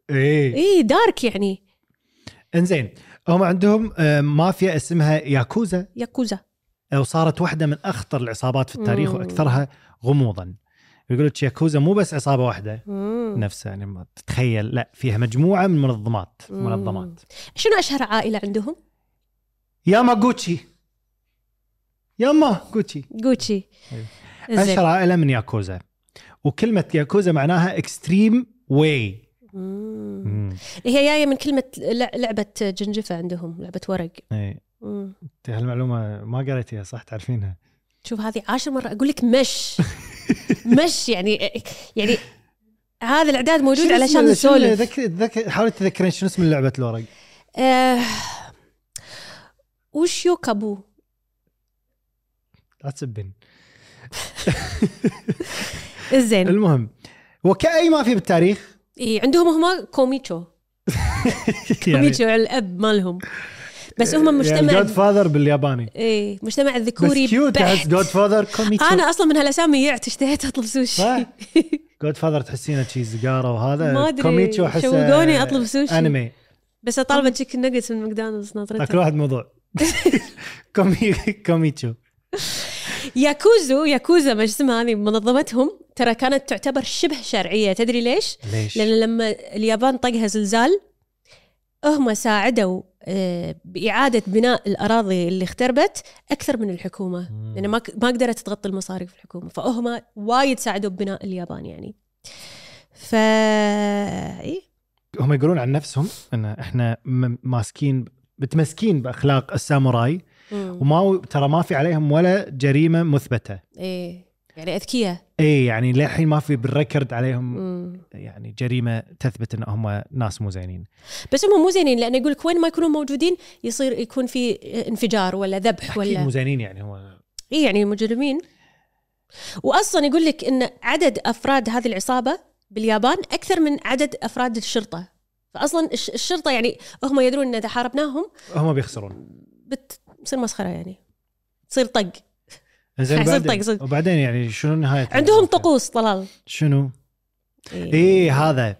Speaker 1: اي
Speaker 2: اي دارك يعني
Speaker 1: انزين هم عندهم آه، مافيا اسمها ياكوزا
Speaker 2: ياكوزا
Speaker 1: آه، وصارت واحده من اخطر العصابات في التاريخ
Speaker 2: مم.
Speaker 1: واكثرها غموضا يقول لك ياكوزا مو بس عصابه واحده
Speaker 2: مم.
Speaker 1: نفسها يعني ما تتخيل لا فيها مجموعه من منظمات
Speaker 2: مم.
Speaker 1: منظمات
Speaker 2: شنو اشهر عائله عندهم؟
Speaker 1: ياما جوتشي ياما جوتشي
Speaker 2: جوتشي
Speaker 1: أيوة.
Speaker 2: زين.
Speaker 1: اشهر عائله من ياكوزا وكلمه ياكوزا معناها اكستريم واي
Speaker 2: مم. هي جايه من كلمه ل- لعبه جنجفه عندهم لعبه ورق
Speaker 1: اي
Speaker 2: مم.
Speaker 1: أنت هالمعلومه إيه. ما قريتيها صح تعرفينها
Speaker 2: شوف هذه عاشر مره اقول لك مش مش يعني يعني هذا الاعداد موجود
Speaker 1: شنو اسم-
Speaker 2: علشان
Speaker 1: شنو
Speaker 2: نسولف
Speaker 1: ذك- ذك- حاولي تتذكرين شنو اسم لعبه الورق
Speaker 2: آه، وشيو كابو
Speaker 1: لا تسبين
Speaker 2: زين
Speaker 1: المهم وكأي ما في بالتاريخ
Speaker 2: إيه عندهم هما كوميتشو
Speaker 1: يعني
Speaker 2: كوميتشو الاب مالهم بس هم يعني مجتمع
Speaker 1: جود فاذر بالياباني
Speaker 2: ايه مجتمع
Speaker 1: يعني بس
Speaker 2: ذكوري
Speaker 1: كيوت احس
Speaker 2: بحت
Speaker 1: جود فاذر كوميتشو
Speaker 2: انا اصلا من هالاسامي يعت اشتهيت اطلب سوشي
Speaker 1: صح؟ جود فاذر تحسينه شي زقاره وهذا
Speaker 2: ما أدري،
Speaker 1: كوميتشو احسه
Speaker 2: شوقوني أطلب سوشي. طيب.
Speaker 1: انمي
Speaker 2: بس اطالبه تشيكن نجتس من ماكدونالدز ناطرته
Speaker 1: اكل واحد موضوع كومي كوميتشو
Speaker 2: ياكوزو ياكوزا ما اسمها هذه منظمتهم ترى كانت تعتبر شبه شرعيه تدري ليش؟
Speaker 1: ليش؟
Speaker 2: لان لما اليابان طقها زلزال هم ساعدوا آه، باعاده بناء الاراضي اللي اختربت اكثر من الحكومه
Speaker 1: مم.
Speaker 2: لان ما ك- ما قدرت تغطي المصاريف الحكومه فهم وايد ساعدوا ببناء اليابان يعني ف إيه،
Speaker 1: هم يقولون عن نفسهم ان احنا م- ماسكين متمسكين باخلاق الساموراي
Speaker 2: مم.
Speaker 1: وما ترى ما في عليهم ولا جريمه مثبته
Speaker 2: ايه يعني اذكياء
Speaker 1: اي يعني للحين ما في بالريكورد عليهم
Speaker 2: مم.
Speaker 1: يعني جريمه تثبت ان هم ناس مو زينين
Speaker 2: بس هم مو زينين لان يقول لك وين ما يكونوا موجودين يصير يكون في آه، انفجار ولا ذبح
Speaker 1: اكيد
Speaker 2: ولا
Speaker 1: مو زينين يعني هو
Speaker 2: اي يعني مجرمين واصلا يقول لك ان عدد افراد هذه العصابه باليابان اكثر من عدد افراد الشرطه فاصلا الش- الشرطه يعني هم يدرون ان اذا حاربناهم
Speaker 1: هم بيخسرون
Speaker 2: بتصير مسخره يعني تصير طق
Speaker 1: زين
Speaker 2: صدق-
Speaker 1: وبعدين,
Speaker 2: صدق.
Speaker 1: وبعدين يعني شنو نهايه
Speaker 2: عندهم طقوس طلال
Speaker 1: شنو؟ اي
Speaker 2: إيه.
Speaker 1: إيه، هذا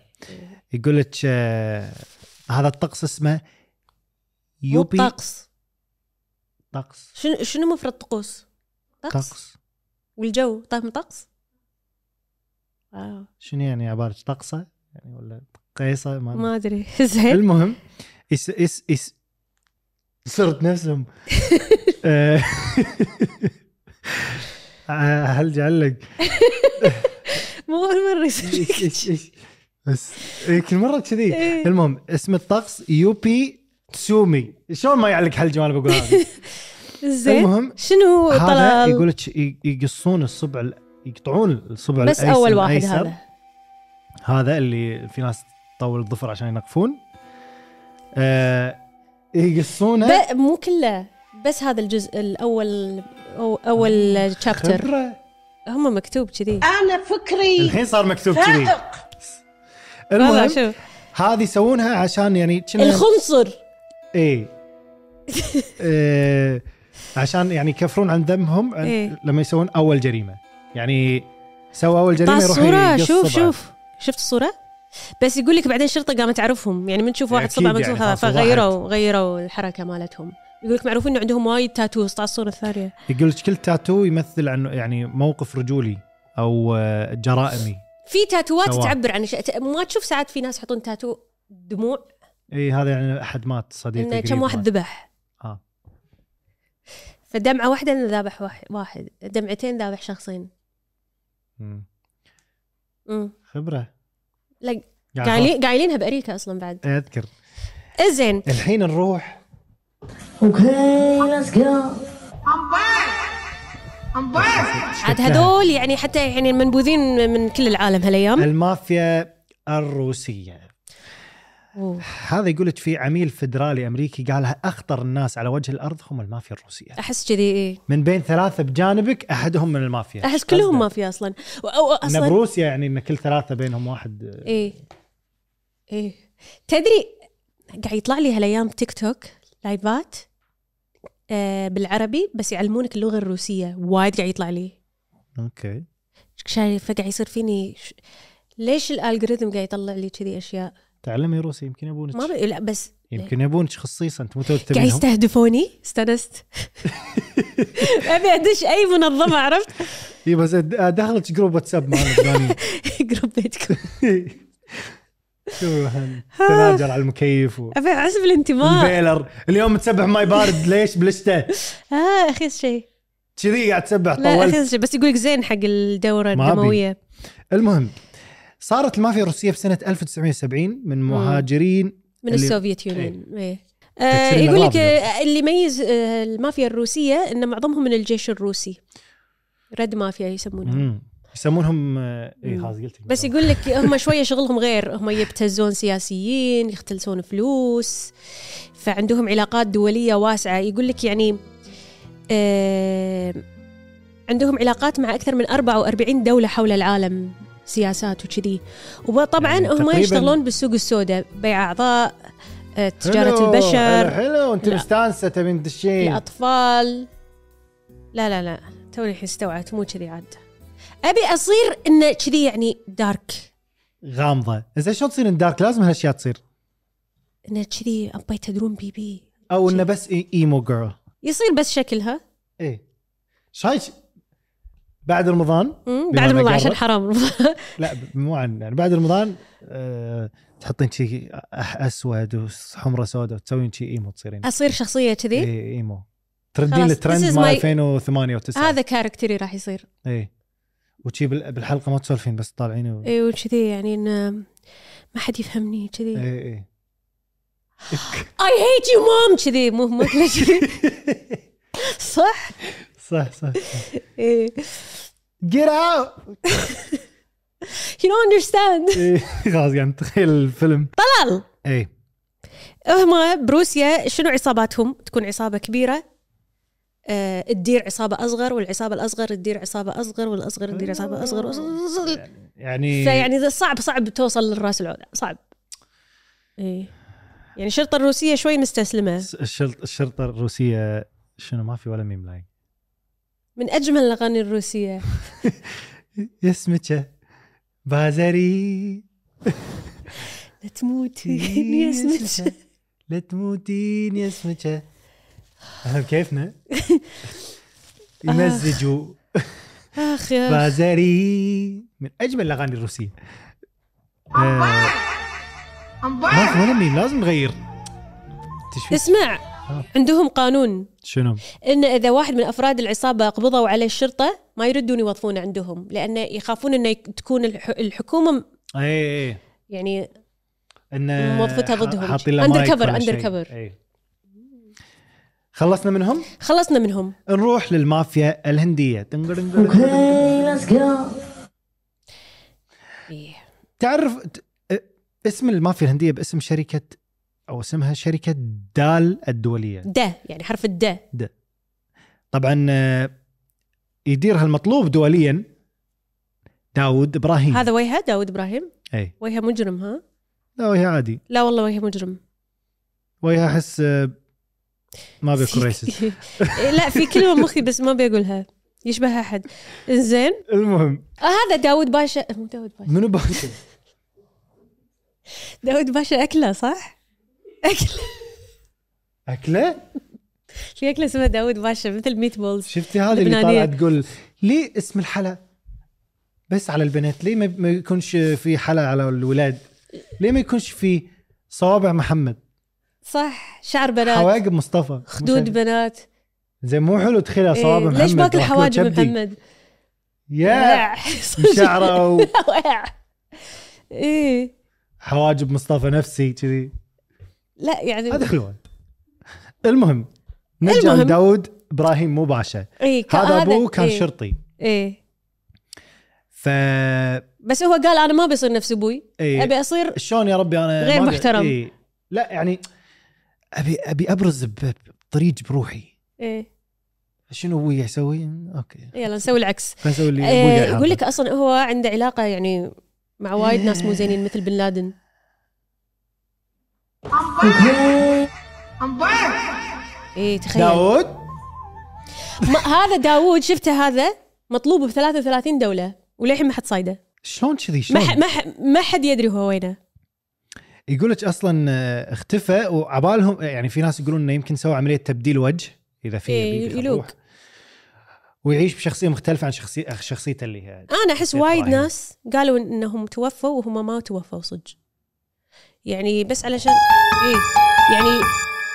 Speaker 1: يقول لك آه، هذا الطقس اسمه
Speaker 2: مو
Speaker 1: يوبي
Speaker 2: طقس
Speaker 1: طقس
Speaker 2: شنو شنو مفرد طقوس؟ طقس
Speaker 1: طقس
Speaker 2: والجو طقم طقس؟ واو
Speaker 1: شنو يعني عباره طقسه يعني ولا قيصه ما,
Speaker 2: ما ادري زين
Speaker 1: المهم اس اس اس صرت نفسهم آه، آه، هل جعلك
Speaker 2: مو اول مره يصير
Speaker 1: إيش- إيش- إيش. بس إيه، كل مره كذي
Speaker 2: إيه.
Speaker 1: المهم اسم الطقس يوبي تسومي شلون ما يعلق هالجمال اللي بقول هذا
Speaker 2: زين
Speaker 1: المهم
Speaker 2: شنو
Speaker 1: هذا
Speaker 2: طلال؟
Speaker 1: يقول لك ي- يقصون الصبع ال- يقطعون الصبع
Speaker 2: بس
Speaker 1: الأيس-
Speaker 2: اول واحد
Speaker 1: الأيسر.
Speaker 2: هذا
Speaker 1: هذا اللي في ناس تطول الظفر عشان ينقفون آه يقصونه
Speaker 2: ب... مو كله بس هذا الجزء الاول أو اول تشابتر
Speaker 1: خبرة.
Speaker 2: هم مكتوب كذي
Speaker 3: أنا فكري
Speaker 1: الحين صار مكتوب كذي
Speaker 3: فائق
Speaker 2: هذا
Speaker 1: المهم
Speaker 2: شوف
Speaker 1: هذه يسوونها عشان يعني كنا-
Speaker 2: الخنصر
Speaker 1: ايه آه، عشان يعني يكفرون عن ذنبهم عن-
Speaker 2: إيه.
Speaker 1: لما يسوون اول جريمه يعني سوى اول
Speaker 2: طال
Speaker 1: جريمه يروح
Speaker 2: الصورة
Speaker 1: يقص
Speaker 2: شوف
Speaker 1: صبعه.
Speaker 2: شوف شفت الصورة بس يقول لك بعدين الشرطة قامت تعرفهم يعني من تشوف واحد
Speaker 1: أكيد
Speaker 2: صبع
Speaker 1: يعني
Speaker 2: مكسور هذا
Speaker 1: خلاص واحد.
Speaker 2: فغيروا غيروا الحركة مالتهم يقول لك معروف انه عندهم وايد تاتوز طال الصورة الثانية
Speaker 1: يقول لك كل تاتو يمثل عن يعني موقف رجولي او آه، جرائمي
Speaker 2: في تاتوات
Speaker 1: سواء.
Speaker 2: تعبر عن شيء ت- ما تشوف ساعات في ناس يحطون تاتو دموع
Speaker 1: اي هذا يعني احد مات صديقي
Speaker 2: انه
Speaker 1: قريب
Speaker 2: كم واحد
Speaker 1: مات.
Speaker 2: ذبح
Speaker 1: آه.
Speaker 2: فدمعة واحدة انه ذابح واحد- واحد دمعتين ذابح شخصين
Speaker 1: مم.
Speaker 2: امم
Speaker 1: خبره
Speaker 2: لا،
Speaker 1: قاعد
Speaker 2: قايلين قايلينها بأريكا اصلا بعد
Speaker 1: أفكر. اذكر
Speaker 2: زين
Speaker 1: إيه، الحين نروح
Speaker 3: Okay, let's go.
Speaker 2: عاد هذول يعني حتى يعني منبوذين من كل العالم هالايام
Speaker 1: المافيا الروسيه
Speaker 2: أوه.
Speaker 1: هذا يقول لك في عميل فدرالي امريكي قالها اخطر الناس على وجه الارض هم المافيا الروسيه
Speaker 2: احس كذي إيه.
Speaker 1: من بين ثلاثه بجانبك احدهم من المافيا
Speaker 2: احس كلهم ما
Speaker 1: مافيا
Speaker 2: في اصلا و- أو
Speaker 1: اصلا
Speaker 2: اصلا
Speaker 1: بروسيا يعني ان كل ثلاثه بينهم واحد
Speaker 2: ايه ايه تدري قاعد يطلع لي هالايام تيك توك لايفات آه بالعربي بس يعلمونك اللغه الروسيه وايد قاعد يطلع لي
Speaker 1: اوكي
Speaker 2: شايفه قاعد يصير فيني ش... ليش الالغوريثم قاعد يطلع لي كذي اشياء
Speaker 1: تعلمي روسي يمكن يبونك
Speaker 2: ما ب... لا بس
Speaker 1: يمكن يبونك خصيصا انت مو تو
Speaker 2: قاعد
Speaker 1: تبينهم
Speaker 2: يستهدفوني استانست ابي ادش اي منظمه عرفت
Speaker 1: اي إيه، بس دخلت جروب واتساب مع الفلاني
Speaker 2: جروب بيتكم
Speaker 1: شو هن-
Speaker 2: آه.
Speaker 1: تناجر على المكيف و...
Speaker 2: ابي احس بالانتماء
Speaker 1: البيلر اليوم تسبح ماي بارد ليش بلشته
Speaker 2: اه اخيس شيء
Speaker 1: كذي قاعد تسبح
Speaker 2: لا
Speaker 1: طولت
Speaker 2: اخيس شيء بس يقولك زين حق الدوره
Speaker 1: ما أبي.
Speaker 2: الدمويه
Speaker 1: المهم صارت المافيا الروسيه في سنه 1970 من مهاجرين
Speaker 2: من
Speaker 1: اللي-
Speaker 2: السوفيت يونيون إيه. آه
Speaker 1: تكسير
Speaker 2: يقول لك
Speaker 1: الأغراض
Speaker 2: آه، اللي يميز آه، المافيا الروسيه ان معظمهم من الجيش الروسي رد مافيا يسمونهم
Speaker 1: مم. يسمونهم اي
Speaker 2: مم.
Speaker 1: خلاص قلت
Speaker 2: بس يقول لك هم شويه شغلهم غير هم يبتزون سياسيين يختلسون فلوس فعندهم علاقات دوليه واسعه يقول لك يعني آه عندهم علاقات مع اكثر من 44 دوله حول العالم سياسات وكذي وطبعا
Speaker 1: يعني
Speaker 2: يعني هم
Speaker 1: تقريباً-
Speaker 2: يشتغلون بالسوق السوداء بيع اعضاء آه، تجاره البشر
Speaker 1: حلو انت
Speaker 2: لا.
Speaker 1: مستانسه تبين تدشين
Speaker 2: الاطفال لا لا لا توني الحين استوعبت مو كذي عاد ابي اصير انه كذي يعني دارك
Speaker 1: غامضه زين شلون تصير دارك لازم هالاشياء تصير
Speaker 2: انه كذي ابي تدرون بيبي
Speaker 1: او انه بس إي- ايمو جيرل
Speaker 2: يصير بس شكلها
Speaker 1: ايه شايف بعد رمضان
Speaker 2: مم،
Speaker 1: بما
Speaker 2: بعد رمضان
Speaker 1: نقرب.
Speaker 2: عشان حرام
Speaker 1: لا ب- مو عن يعني بعد رمضان أه تحطين شيء أح- اسود وحمره سوداء وتسوين شيء ايمو تصيرين
Speaker 2: اصير شخصيه كذي
Speaker 1: إيه ايمو تردين
Speaker 2: خلاص،
Speaker 1: الترند
Speaker 2: this is
Speaker 1: مال
Speaker 2: my-
Speaker 1: 2008 و9
Speaker 2: هذا كاركتري راح يصير
Speaker 1: ايه وشي بال- بالحلقه ما تسولفين بس طالعين و...
Speaker 2: اي وكذي يعني ان ما حد يفهمني كذي
Speaker 1: ايه ايه
Speaker 2: اي هيت يو مام كذي مو مو كذي صح؟
Speaker 1: صح صح
Speaker 2: ايه
Speaker 1: جيت اوت
Speaker 2: يو دونت اندرستاند
Speaker 1: خلاص يعني تخيل الفيلم
Speaker 2: طلال
Speaker 1: ايه
Speaker 2: هم بروسيا شنو عصاباتهم؟ تكون عصابه كبيره آه، تدير عصابه اصغر والعصابه الاصغر تدير عصابه اصغر والاصغر تدير عصابه اصغر وأصغر.
Speaker 1: يعني
Speaker 2: فيعني ذا صعب صعب توصل للراس العلا صعب ايه يعني الشرطه الروسيه شوي مستسلمه
Speaker 1: الس- الشرط الشرطه الروسيه شنو ما في ولا ميم لاين
Speaker 2: من اجمل الاغاني الروسيه
Speaker 1: يسمك بازري
Speaker 2: لا تموتين يا سمجة.
Speaker 1: لا تموتين يا سمكة احنا بكيفنا
Speaker 2: آه.
Speaker 1: يمزجوا
Speaker 2: اخ يا
Speaker 1: بازري من اجمل الاغاني الروسيه آه، ما في ولا ميم لازم نغير تشوف
Speaker 2: اسمع عندهم قانون
Speaker 1: شنو
Speaker 2: ان اذا واحد من افراد العصابه قبضوا عليه الشرطه ما يردون يوظفونه عندهم لانه يخافون انه يك- تكون الح- الحكومه
Speaker 1: اي اي اي
Speaker 2: يعني
Speaker 1: ان
Speaker 2: موظفتها ضدهم.
Speaker 1: إيه. حاطين له
Speaker 2: Undercover-
Speaker 1: مايك ولا شيء.
Speaker 2: undercover.
Speaker 1: إي. خلصنا منهم
Speaker 2: خلصنا منهم
Speaker 1: نروح للمافيا الهنديه دنقر دنقر دنقر.
Speaker 3: Okay, let's go.
Speaker 2: إيه.
Speaker 1: تعرف ت- أ- اسم المافيا الهنديه باسم شركه او اسمها شركه دال الدوليه
Speaker 2: ده يعني حرف الد
Speaker 1: طبعا آه، يديرها المطلوب دوليا داود ابراهيم
Speaker 2: هذا وجهه داود ابراهيم
Speaker 1: اي
Speaker 2: وجهه مجرم ها
Speaker 1: لا وهي عادي
Speaker 2: لا والله وجهه مجرم
Speaker 1: وهي احس آه، ما بيكون ريسست
Speaker 2: في- لا في كلمه مخي بس ما بيقولها يشبه احد زين
Speaker 1: المهم
Speaker 2: آه هذا داود باشا مو داود باشا
Speaker 1: منو باكر
Speaker 2: داود باشا اكله صح؟ اكله
Speaker 1: اكله
Speaker 2: في اكله اسمها داود باشا مثل ميت بولز
Speaker 1: شفتي هذه اللي
Speaker 2: لبنانية.
Speaker 1: طالعه تقول ليه اسم الحلا بس على البنات ليه ما ما يكونش في حلا على الولاد ليه ما يكونش في صوابع محمد
Speaker 2: صح شعر بنات
Speaker 1: حواجب مصطفى
Speaker 2: خدود بنات
Speaker 1: زين مو حلو تخيلها صوابع
Speaker 2: إيه،
Speaker 1: محمد
Speaker 2: ليش باكل
Speaker 1: وأحمد
Speaker 2: حواجب
Speaker 1: شبدي.
Speaker 2: محمد؟
Speaker 1: يا شعره
Speaker 2: ايه
Speaker 1: وحواجب مصطفى نفسي كذي
Speaker 2: لا يعني
Speaker 1: هذا حلوه المهم نرجع
Speaker 2: المهم.
Speaker 1: داود ابراهيم مو باشا
Speaker 2: إيه كا-
Speaker 1: هذا ابوه كان
Speaker 2: إيه.
Speaker 1: شرطي
Speaker 2: ايه
Speaker 1: ف
Speaker 2: بس هو قال انا ما بصير نفس ابوي
Speaker 1: إيه.
Speaker 2: ابي اصير
Speaker 1: شلون يا ربي انا
Speaker 2: غير
Speaker 1: ما أبي-
Speaker 2: محترم.
Speaker 1: إيه. لا يعني ابي ابي ابرز ب- بطريق بروحي
Speaker 2: ايه
Speaker 1: شنو ابوي يسوي؟ اوكي
Speaker 2: يلا نسوي العكس
Speaker 1: خلينا نسوي اللي ابوي
Speaker 2: إيه
Speaker 1: قاعد
Speaker 2: يقول لك
Speaker 1: يحضر.
Speaker 2: اصلا هو عنده علاقه يعني مع وايد ناس مو زينين مثل بن لادن ايه تخيل
Speaker 1: داود
Speaker 2: ما هذا داوود شفته هذا مطلوب ب 33 دوله وللحين ما حد صايده
Speaker 1: شلون كذي
Speaker 2: ما
Speaker 1: شلون؟
Speaker 2: ح- ما ح- ما حد يدري هو وينه
Speaker 1: يقول لك اصلا آه، اختفى وعبالهم يعني في ناس يقولون انه يمكن سوى عمليه تبديل وجه اذا في
Speaker 2: إيه،
Speaker 1: يبي
Speaker 2: يلوق.
Speaker 1: يروح. ويعيش بشخصيه مختلفه عن شخصيه شخصيته اللي هي
Speaker 2: انا احس
Speaker 1: كيف
Speaker 2: وايد
Speaker 1: رأيك؟
Speaker 2: ناس قالوا إن- انهم توفوا وهم ما توفوا صدق يعني بس علشان ايه يعني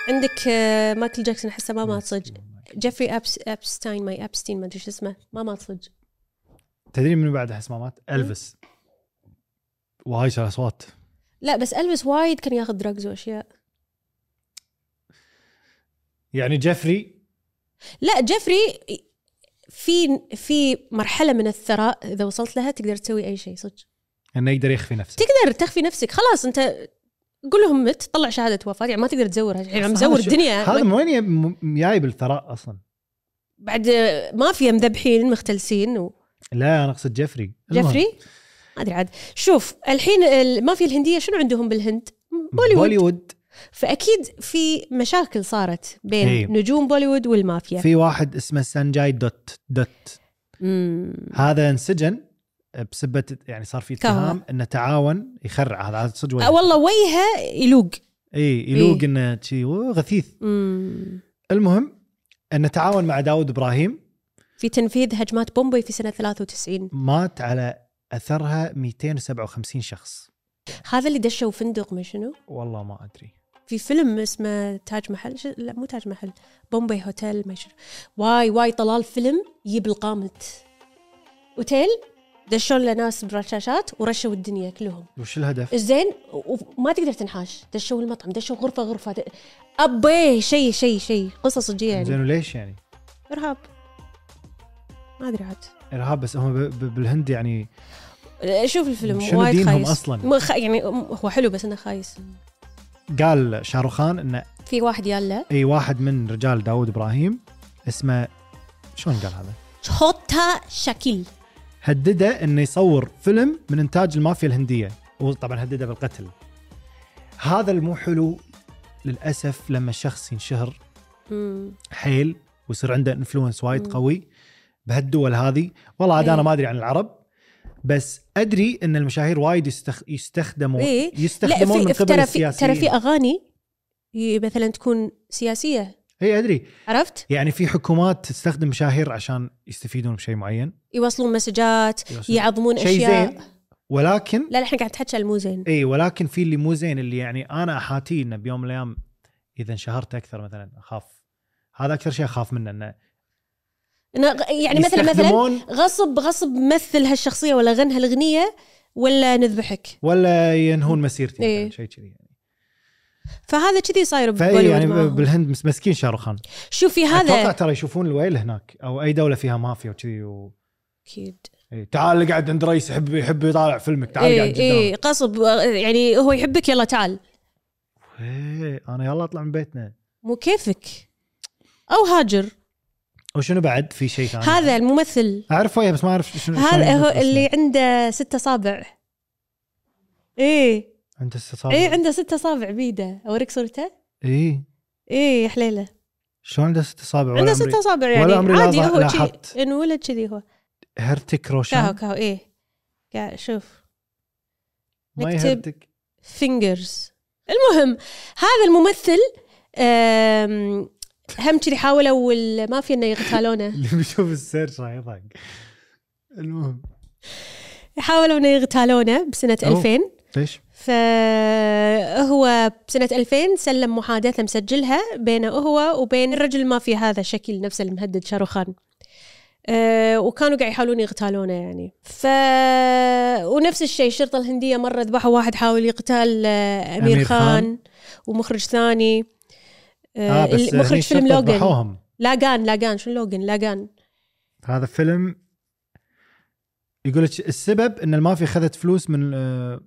Speaker 2: عندك آه، مايكل جاكسون احسه ما مات صدق جيفري أبس ابستاين ماي ابستين ما ادري شو اسمه ما مات صدق
Speaker 1: تدري من بعد احس ما مات؟
Speaker 2: إيه.
Speaker 1: الفس وهاي شال اصوات
Speaker 2: لا بس الفيس وايد كان ياخذ دراجز واشياء
Speaker 1: يعني جيفري
Speaker 2: لا جيفري في في مرحله من الثراء اذا وصلت لها تقدر تسوي اي شيء صدق
Speaker 1: انه يقدر يخفي نفسه
Speaker 2: تقدر تخفي نفسك خلاص انت قول لهم مت طلع شهاده وفاه يعني ما تقدر تزورها يعني
Speaker 1: أصلاً
Speaker 2: مزور
Speaker 1: هذا شو- هذا
Speaker 2: الدنيا
Speaker 1: من وين يا- م- جاي بالثراء اصلا؟
Speaker 2: بعد مافيا مذبحين مختلسين و...
Speaker 1: لا انا اقصد جيفري المهم.
Speaker 2: جيفري ما ادري عاد شوف الحين المافيا الهنديه شنو عندهم بالهند بوليوود, بوليوود.
Speaker 1: بوليوود
Speaker 2: فاكيد في مشاكل صارت بين
Speaker 1: إيه.
Speaker 2: هي. نجوم بوليوود والمافيا في...
Speaker 1: في واحد اسمه سانجاي دوت دوت هذا انسجن بسبه يعني صار في
Speaker 2: كهوة.
Speaker 1: اتهام انه تعاون يخرع هذا هذا صدق وجه.
Speaker 2: أه، والله وجهه يلوق
Speaker 1: اي يلوق
Speaker 2: إيه.
Speaker 1: انه شي غثيث
Speaker 2: مم.
Speaker 1: المهم ان تعاون مع داود ابراهيم
Speaker 2: في تنفيذ هجمات بومبي في سنه 93
Speaker 1: مات على اثرها 257 شخص
Speaker 2: هذا اللي دشوا فندق من شنو
Speaker 1: والله ما ادري
Speaker 2: في فيلم اسمه تاج محل ش... لا مو تاج محل بومبي هوتيل ما يشر واي واي طلال فيلم يجيب القامت اوتيل دشون له ناس برشاشات ورشوا الدنيا كلهم
Speaker 1: وش الهدف؟
Speaker 2: زين وما تقدر تنحاش دشوا المطعم دشوا غرفه غرفه د... ابي شيء شيء شيء قصه صجيه يعني
Speaker 1: زين وليش يعني؟
Speaker 2: ارهاب ما ادري عاد
Speaker 1: ارهاب بس هم ب- ب- بالهند يعني
Speaker 2: شوف الفيلم
Speaker 1: شنو
Speaker 2: وايد
Speaker 1: دينهم
Speaker 2: خايس
Speaker 1: أصلاً؟
Speaker 2: ما خ... يعني هو حلو بس انه خايس
Speaker 1: قال شاروخان ان
Speaker 2: في واحد ياله
Speaker 1: اي واحد من رجال داود ابراهيم اسمه شلون قال هذا؟
Speaker 2: شوتا شاكيل
Speaker 1: هدده انه يصور فيلم من انتاج المافيا الهنديه وطبعا هدده بالقتل هذا المو حلو للاسف لما الشخص ينشهر
Speaker 2: مم.
Speaker 1: حيل ويصير عنده انفلونس وايد قوي بهالدول هذه والله عاد
Speaker 2: إيه.
Speaker 1: انا ما ادري عن العرب بس ادري ان المشاهير وايد يستخ... يستخدموا
Speaker 2: إيه.
Speaker 1: يستخدمون من قبل
Speaker 2: ترى في ترى في
Speaker 1: السياسيين
Speaker 2: اغاني ي- مثلا تكون سياسيه
Speaker 1: اي ادري
Speaker 2: عرفت؟
Speaker 1: إيه، يعني في حكومات تستخدم مشاهير عشان يستفيدون بشيء معين
Speaker 2: يوصلون مسجات يعظمون
Speaker 1: شيء
Speaker 2: اشياء
Speaker 1: زين ولكن
Speaker 2: لا لا احنا قاعد نتحكى على المو زين
Speaker 1: اي ولكن في اللي مو زين اللي يعني انا احاتيه انه بيوم من الايام اذا انشهرت اكثر مثلا اخاف هذا اكثر شيء اخاف منه انه
Speaker 2: يعني إنه غ- يعني مثلا مثلا
Speaker 1: يستخدمون
Speaker 2: غصب غصب مثل هالشخصيه ولا غنى هالاغنيه ولا نذبحك
Speaker 1: ولا ينهون مسيرتي
Speaker 2: إيه.
Speaker 1: إيه. شيء كذي يعني
Speaker 2: فهذا كذي صاير
Speaker 1: فاي يعني
Speaker 2: ببوليوود
Speaker 1: بالهند مس- مسكين شاروخان
Speaker 2: شوف في
Speaker 1: اتوقع
Speaker 2: هذا
Speaker 1: ترى يشوفون الويل هناك او اي دوله فيها مافيا وكذي و...
Speaker 2: اكيد
Speaker 1: إيه. تعال اقعد عند رئيس يحب يحب يطالع فيلمك تعال إيه.
Speaker 2: اي
Speaker 1: قاعد إيه.
Speaker 2: اي غصب آه، يعني هو يحبك يلا تعال
Speaker 1: إيه. انا يلا اطلع من بيتنا
Speaker 2: مو كيفك او هاجر
Speaker 1: وشنو بعد في شيء ثاني
Speaker 2: هذا الممثل
Speaker 1: اعرف وجهه بس ما اعرف شنو
Speaker 2: هذا
Speaker 1: شلون
Speaker 2: هو
Speaker 1: ينطق
Speaker 2: اللي
Speaker 1: اسمه.
Speaker 2: عنده ست اصابع ايه
Speaker 1: عنده استطاعه
Speaker 2: ايه عنده ست اصابع بيده اوريك صورته
Speaker 1: اي
Speaker 2: ايه يا حليله
Speaker 1: شلون عنده ست اصابع
Speaker 2: عنده
Speaker 1: ولا
Speaker 2: ست
Speaker 1: عمري-
Speaker 2: اصابع يعني
Speaker 1: ولا عمري
Speaker 2: عادي
Speaker 1: لاحظ-
Speaker 2: هو
Speaker 1: لاحظت.
Speaker 2: شي انولد كذي هو
Speaker 1: هرتك
Speaker 2: كاهو
Speaker 1: روشان
Speaker 2: كاهو ايه قاعد شوف
Speaker 1: ما
Speaker 2: نكتب.
Speaker 1: يهرتك
Speaker 2: فينجرز المهم هذا الممثل آم، هم كذي حاولوا المافيا انه يغتالونه
Speaker 1: اللي بيشوف السيرش راح يضحك المهم
Speaker 2: حاولوا انه يغتالونه بسنه
Speaker 1: أوه.
Speaker 2: 2000
Speaker 1: ليش؟
Speaker 2: فهو بسنة 2000 سلم محادثة مسجلها بينه هو وبين الرجل ما في هذا شكل نفسه المهدد شاروخان أه وكانوا قاعد يحاولون يغتالونه يعني ف ونفس الشيء الشرطه الهنديه مره ذبحوا واحد حاول يقتال آه، امير,
Speaker 1: أمير
Speaker 2: خان,
Speaker 1: خان.
Speaker 2: خان ومخرج ثاني
Speaker 1: اه
Speaker 2: آه
Speaker 1: بس
Speaker 2: مخرج
Speaker 1: هني
Speaker 2: فيلم
Speaker 1: شطوا
Speaker 2: لوغان
Speaker 1: ذبحوهم.
Speaker 2: لاغان لاغان شنو لوغان لاغان
Speaker 1: هذا فيلم يقول لك السبب ان المافيا خذت فلوس من آه،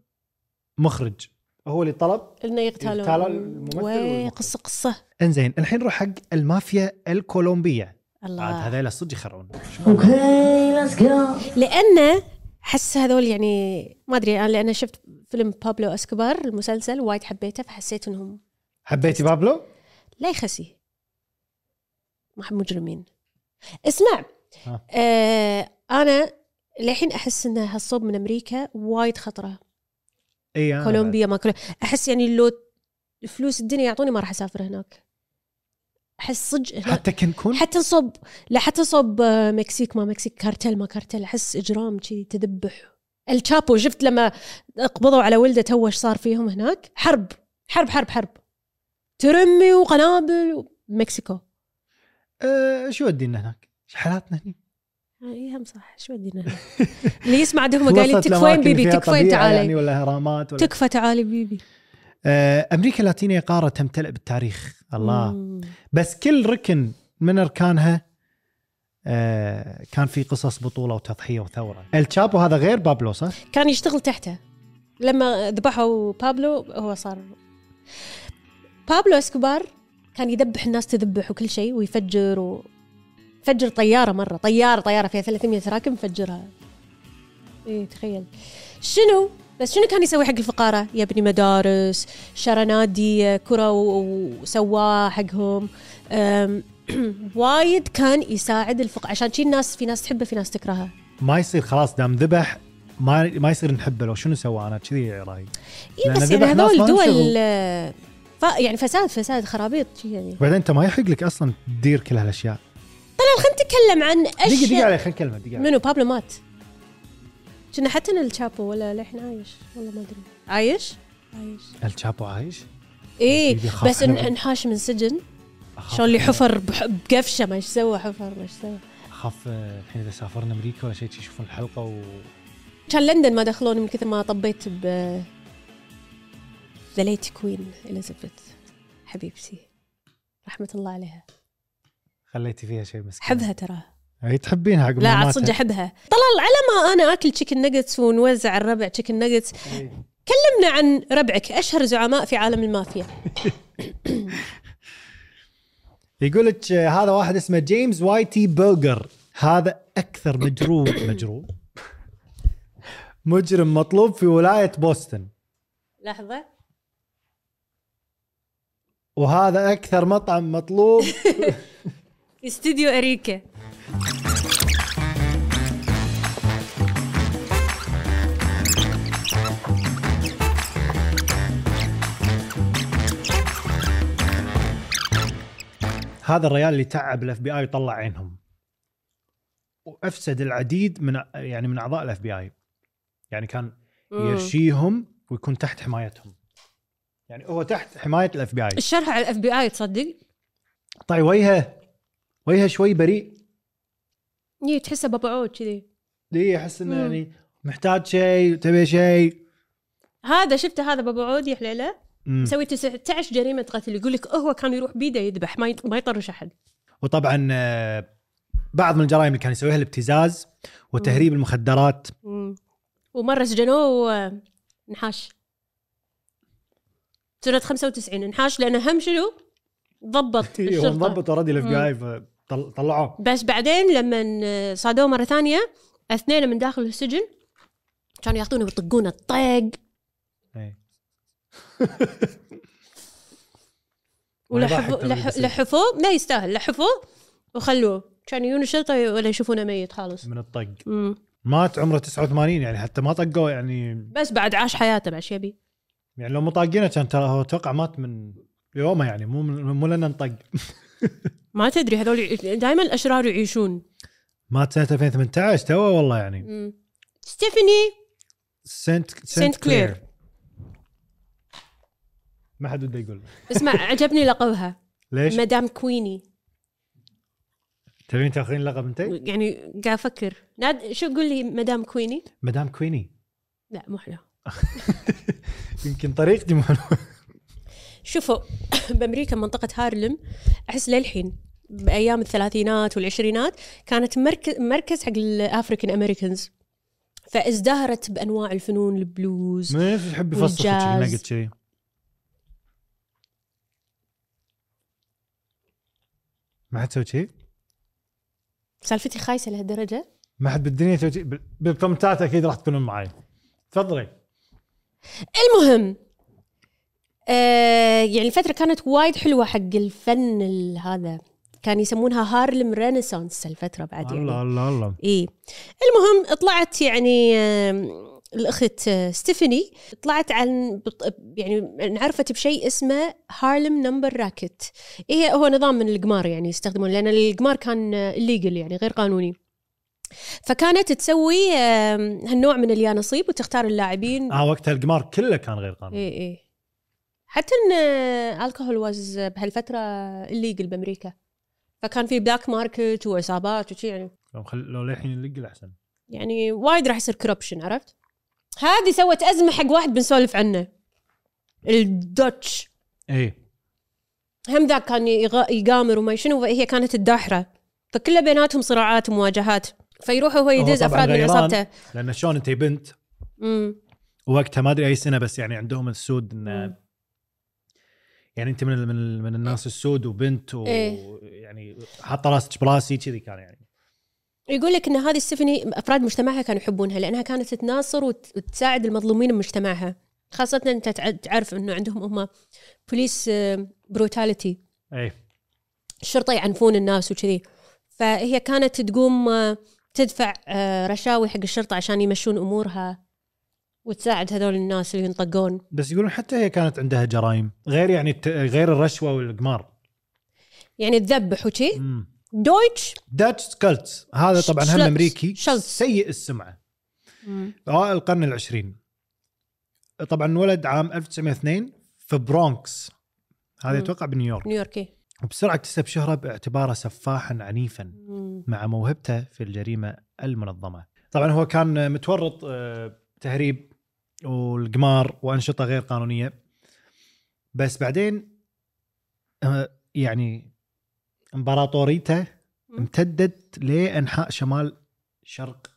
Speaker 1: مخرج هو اللي طلب
Speaker 2: انه
Speaker 1: اغتالوا
Speaker 2: يغتالون
Speaker 1: الممثل
Speaker 2: وي
Speaker 1: والمخرج.
Speaker 2: قصه قصه
Speaker 1: انزين الحين نروح حق المافيا الكولومبيه عاد
Speaker 2: الله
Speaker 1: هذيلا صدق يخرعون
Speaker 3: Okay, let's go.
Speaker 2: لانه احس هذول يعني ما ادري انا لان شفت فيلم بابلو اسكوبار المسلسل وايد حبيته فحسيت انهم
Speaker 1: حبيتي بابلو؟
Speaker 2: لا يخسي ما حب مجرمين اسمع
Speaker 1: ها.
Speaker 2: آه انا للحين احس ان هالصوب من امريكا وايد خطره
Speaker 1: اي أنا
Speaker 2: كولومبيا ما كولومبيا احس يعني لو فلوس الدنيا يعطوني ما راح اسافر هناك احس صدق
Speaker 1: بعد.
Speaker 2: هناك-
Speaker 1: حتى كنكون
Speaker 2: حتى نصب لا حتى نصب آه، مكسيك ما مكسيك كارتل ما كارتل احس اجرام شي تذبح الشابو شفت لما قبضوا على ولده تو ايش صار فيهم هناك حرب حرب حرب حرب ترمي وقنابل و- مكسيكو
Speaker 1: آه، شو يودينا هناك؟ ايش حالاتنا هني؟
Speaker 2: اي آه، هم صح شو ودينا هنا؟ اللي يسمع عندهم
Speaker 1: في
Speaker 2: قايلين
Speaker 1: وسط
Speaker 2: تكفين
Speaker 1: الأماكن
Speaker 2: بيبي
Speaker 1: فيها
Speaker 2: تكفين
Speaker 1: طبيعة
Speaker 2: تعالي
Speaker 1: يعني ولا اهرامات ولا
Speaker 2: تكفى تعالي بيبي
Speaker 1: آه، امريكا اللاتينيه قاره تمتلئ بالتاريخ الله
Speaker 2: مم.
Speaker 1: بس كل ركن من اركانها آه، كان في قصص بطوله وتضحيه وثوره التشابو هذا غير بابلو صح
Speaker 2: كان يشتغل تحته لما ذبحوا بابلو هو صار بابلو اسكوبار كان يذبح الناس تذبح وكل شيء ويفجر و... فجر طياره مره طياره طياره فيها 300 راكب مفجرها ايه تخيل شنو بس شنو كان يسوي حق الفقاره يبني مدارس شرى نادي كره و- وسواه حقهم أم، وايد كان يساعد الفقراء عشان شي الناس في ناس تحبه في ناس تكرهه
Speaker 1: ما يصير خلاص دام ذبح ما ما يصير نحبه لو شنو سوى انا كذي رايي
Speaker 2: اي
Speaker 1: لأن
Speaker 2: بس
Speaker 1: ذبح
Speaker 2: يعني
Speaker 1: ناس
Speaker 2: هذول
Speaker 1: ما
Speaker 2: دول
Speaker 1: انشغلوا.
Speaker 2: آه، ف- يعني فساد فساد خرابيط شي يعني
Speaker 1: بعدين انت ما يحق لك اصلا تدير كل هالاشياء
Speaker 2: طلال طيب، خلينا نتكلم عن
Speaker 1: دقيقه دقيقه
Speaker 2: اشياء
Speaker 1: عليه خلينا نكلمه دقيقه عليه.
Speaker 2: منو بابلو مات كنا حتى إن الشابو ولا للحين عايش والله ما ادري عايش؟ عايش
Speaker 1: الشابو عايش
Speaker 2: ايه
Speaker 1: أكيد يخاف
Speaker 2: بس إن-
Speaker 1: عليه.
Speaker 2: انحاش من سجن
Speaker 1: أخاف-
Speaker 2: شلون اللي حفر بح- بقفشه ما ايش سوى حفر ما ايش سوى
Speaker 1: اخاف آه، الحين اذا سافرنا امريكا ولا شيء يشوفون الحلقه و
Speaker 2: كان لندن ما دخلوني من كثر ما طبيت ب ذا ليت كوين اليزابيث حبيبتي رحمه الله عليها
Speaker 1: خليتي فيها شيء مسكين
Speaker 2: احبها ترى
Speaker 1: اي تحبينها عقب
Speaker 2: لا
Speaker 1: ما
Speaker 2: عاد
Speaker 1: ماتت.
Speaker 2: صدق احبها طلال على ما انا اكل تشيكن نجتس ونوزع الربع تشيكن نجتس
Speaker 1: إيه.
Speaker 2: كلمنا عن ربعك اشهر زعماء في عالم المافيا
Speaker 1: يقول لك آه، هذا واحد اسمه جيمس وايتي برجر هذا اكثر مجروب مجروب مجرم مطلوب في ولايه بوسطن
Speaker 2: لحظه
Speaker 1: وهذا اكثر مطعم مطلوب
Speaker 2: استديو اريكا
Speaker 1: هذا الريال اللي تعب الاف بي اي وطلع عينهم وافسد العديد من يعني من اعضاء الاف بي اي يعني كان
Speaker 2: مم.
Speaker 1: يرشيهم ويكون تحت حمايتهم يعني هو تحت حمايه الاف بي اي
Speaker 2: الشرح على الاف بي اي تصدق؟
Speaker 1: طيب وجهه وجهه شوي بريء
Speaker 2: يي إيه، تحسه بابا عود كذي
Speaker 1: لي احس انه
Speaker 2: مم.
Speaker 1: يعني محتاج شيء تبي شيء
Speaker 2: هذا شفته هذا بابا عود يا حليله
Speaker 1: مم.
Speaker 2: مسوي 19 جريمه قتل يقول لك هو كان يروح بيده يذبح ما يط- ما يطرش احد
Speaker 1: وطبعا آه، بعض من الجرائم اللي كان يسويها الابتزاز وتهريب المخدرات
Speaker 2: مم. ومره سجنوه آه، نحاش سنه 95 نحاش لانه هم شنو؟ ضبط
Speaker 1: هو
Speaker 2: الشرطه
Speaker 1: مضبط اوريدي إيوه، الاف بي اي فطلعوه
Speaker 2: بس بعدين لما صادوه مره ثانيه اثنين من داخل السجن كانوا ياخذونه ويطقونه طق
Speaker 1: إيه. يضحك
Speaker 2: ولحفوه
Speaker 1: ترى اللي
Speaker 2: لح-
Speaker 1: بيصير.
Speaker 2: لحفوه ما يستاهل لحفوه وخلوه كان يجون الشرطه ولا يشوفونه ميت خالص
Speaker 1: من الطق
Speaker 2: مم.
Speaker 1: مات عمره 89 يعني حتى ما طقوه يعني
Speaker 2: بس بعد عاش حياته بعد شو يبي
Speaker 1: يعني لو مطاقينه كان ترى هو اتوقع مات من يومه يعني مو من- مو لانه انطق
Speaker 2: ما تدري هذول دائما الاشرار يعيشون
Speaker 1: مات سنه 2018 توه والله يعني
Speaker 2: مم. ستيفاني
Speaker 1: سنت
Speaker 2: سنت كلير.
Speaker 1: ما حد بده يقول
Speaker 2: اسمع عجبني لقبها
Speaker 1: ليش؟
Speaker 2: مدام كويني
Speaker 1: تبين تاخذين لقب انت؟
Speaker 2: يعني قاعد افكر ناد شو قول لي مدام كويني
Speaker 1: مدام كويني
Speaker 2: لا مو حلو
Speaker 1: يمكن طريقتي مو حلوة.
Speaker 2: شوفوا بامريكا منطقه هارلم احس للحين بايام الثلاثينات والعشرينات كانت مركز مركز حق الافريكان امريكانز فازدهرت بانواع الفنون البلوز
Speaker 1: ما يحب يفصل
Speaker 2: والجاز.
Speaker 1: شكل نقد شيء ما حد سوى شيء؟
Speaker 2: سالفتي خايسه لهالدرجه
Speaker 1: ما حد بالدنيا سوى شيء؟ بال- بالكومنتات اكيد راح تكونون معي تفضلي
Speaker 2: المهم آه يعني الفتره كانت وايد حلوه حق الفن ال- هذا كان يسمونها هارلم رينيسانس الفتره بعد يعني.
Speaker 1: الله الله الله
Speaker 2: اي المهم طلعت يعني آم، الاخت آه، ستيفاني طلعت عن بط- يعني انعرفت بشيء اسمه هارلم نمبر راكت هي هو نظام من القمار يعني يستخدمون لان القمار كان الليجل يعني غير قانوني فكانت تسوي آم، هالنوع من اليانصيب وتختار اللاعبين
Speaker 1: اه وقتها القمار كله كان غير قانوني
Speaker 2: اي اي حتى آه، ان الكحول واز بهالفتره الليجل بامريكا فكان في بلاك ماركت وعصابات وشي يعني
Speaker 1: لو خل... لو للحين اللقل احسن
Speaker 2: يعني وايد راح يصير كربشن عرفت؟ هذه سوت ازمه حق واحد بنسولف عنه الدوتش
Speaker 1: ايه
Speaker 2: هم ذاك كان يغ- يقامر وما شنو هي كانت الداحره فكلها بيناتهم صراعات ومواجهات فيروح هو يدز
Speaker 1: طبعاً
Speaker 2: افراد من
Speaker 1: غيران.
Speaker 2: عصابته
Speaker 1: لان شلون انت بنت
Speaker 2: أمم.
Speaker 1: وقتها ما ادري اي سنه بس يعني عندهم السود
Speaker 2: إيه.
Speaker 1: انه يعني انت من ال- من, ال- من الناس السود وبنت
Speaker 2: إيه.
Speaker 1: ويعني حاطه راسك براسي كذي كان يعني
Speaker 2: يقول لك ان هذه ستيفاني افراد مجتمعها كانوا يحبونها لانها كانت تناصر وت- وتساعد المظلومين بمجتمعها خاصه انت تع- تعرف انه عندهم هم آه، بوليس بروتاليتي
Speaker 1: اي
Speaker 2: الشرطه يعنفون الناس وكذي فهي كانت تقوم آه، تدفع آه، رشاوي حق الشرطه عشان يمشون امورها وتساعد هذول الناس اللي ينطقون
Speaker 1: بس يقولون حتى هي كانت عندها جرائم غير يعني الت... غير الرشوه والقمار
Speaker 2: يعني تذبح وشي
Speaker 1: مم.
Speaker 2: دويتش
Speaker 1: داتش كالتس هذا طبعا هم
Speaker 2: شلتس.
Speaker 1: امريكي
Speaker 2: شلتس.
Speaker 1: سيء السمعه اوائل القرن العشرين طبعا ولد عام 1902 في برونكس هذا
Speaker 2: مم.
Speaker 1: يتوقع بنيويورك
Speaker 2: نيويوركي
Speaker 1: وبسرعه اكتسب شهره باعتباره سفاحا عنيفا مع موهبته في الجريمه المنظمه. طبعا هو كان متورط آه، تهريب والقمار وانشطه غير قانونيه. بس بعدين آه، يعني امبراطوريته
Speaker 2: مم.
Speaker 1: امتدت لانحاء شمال شرق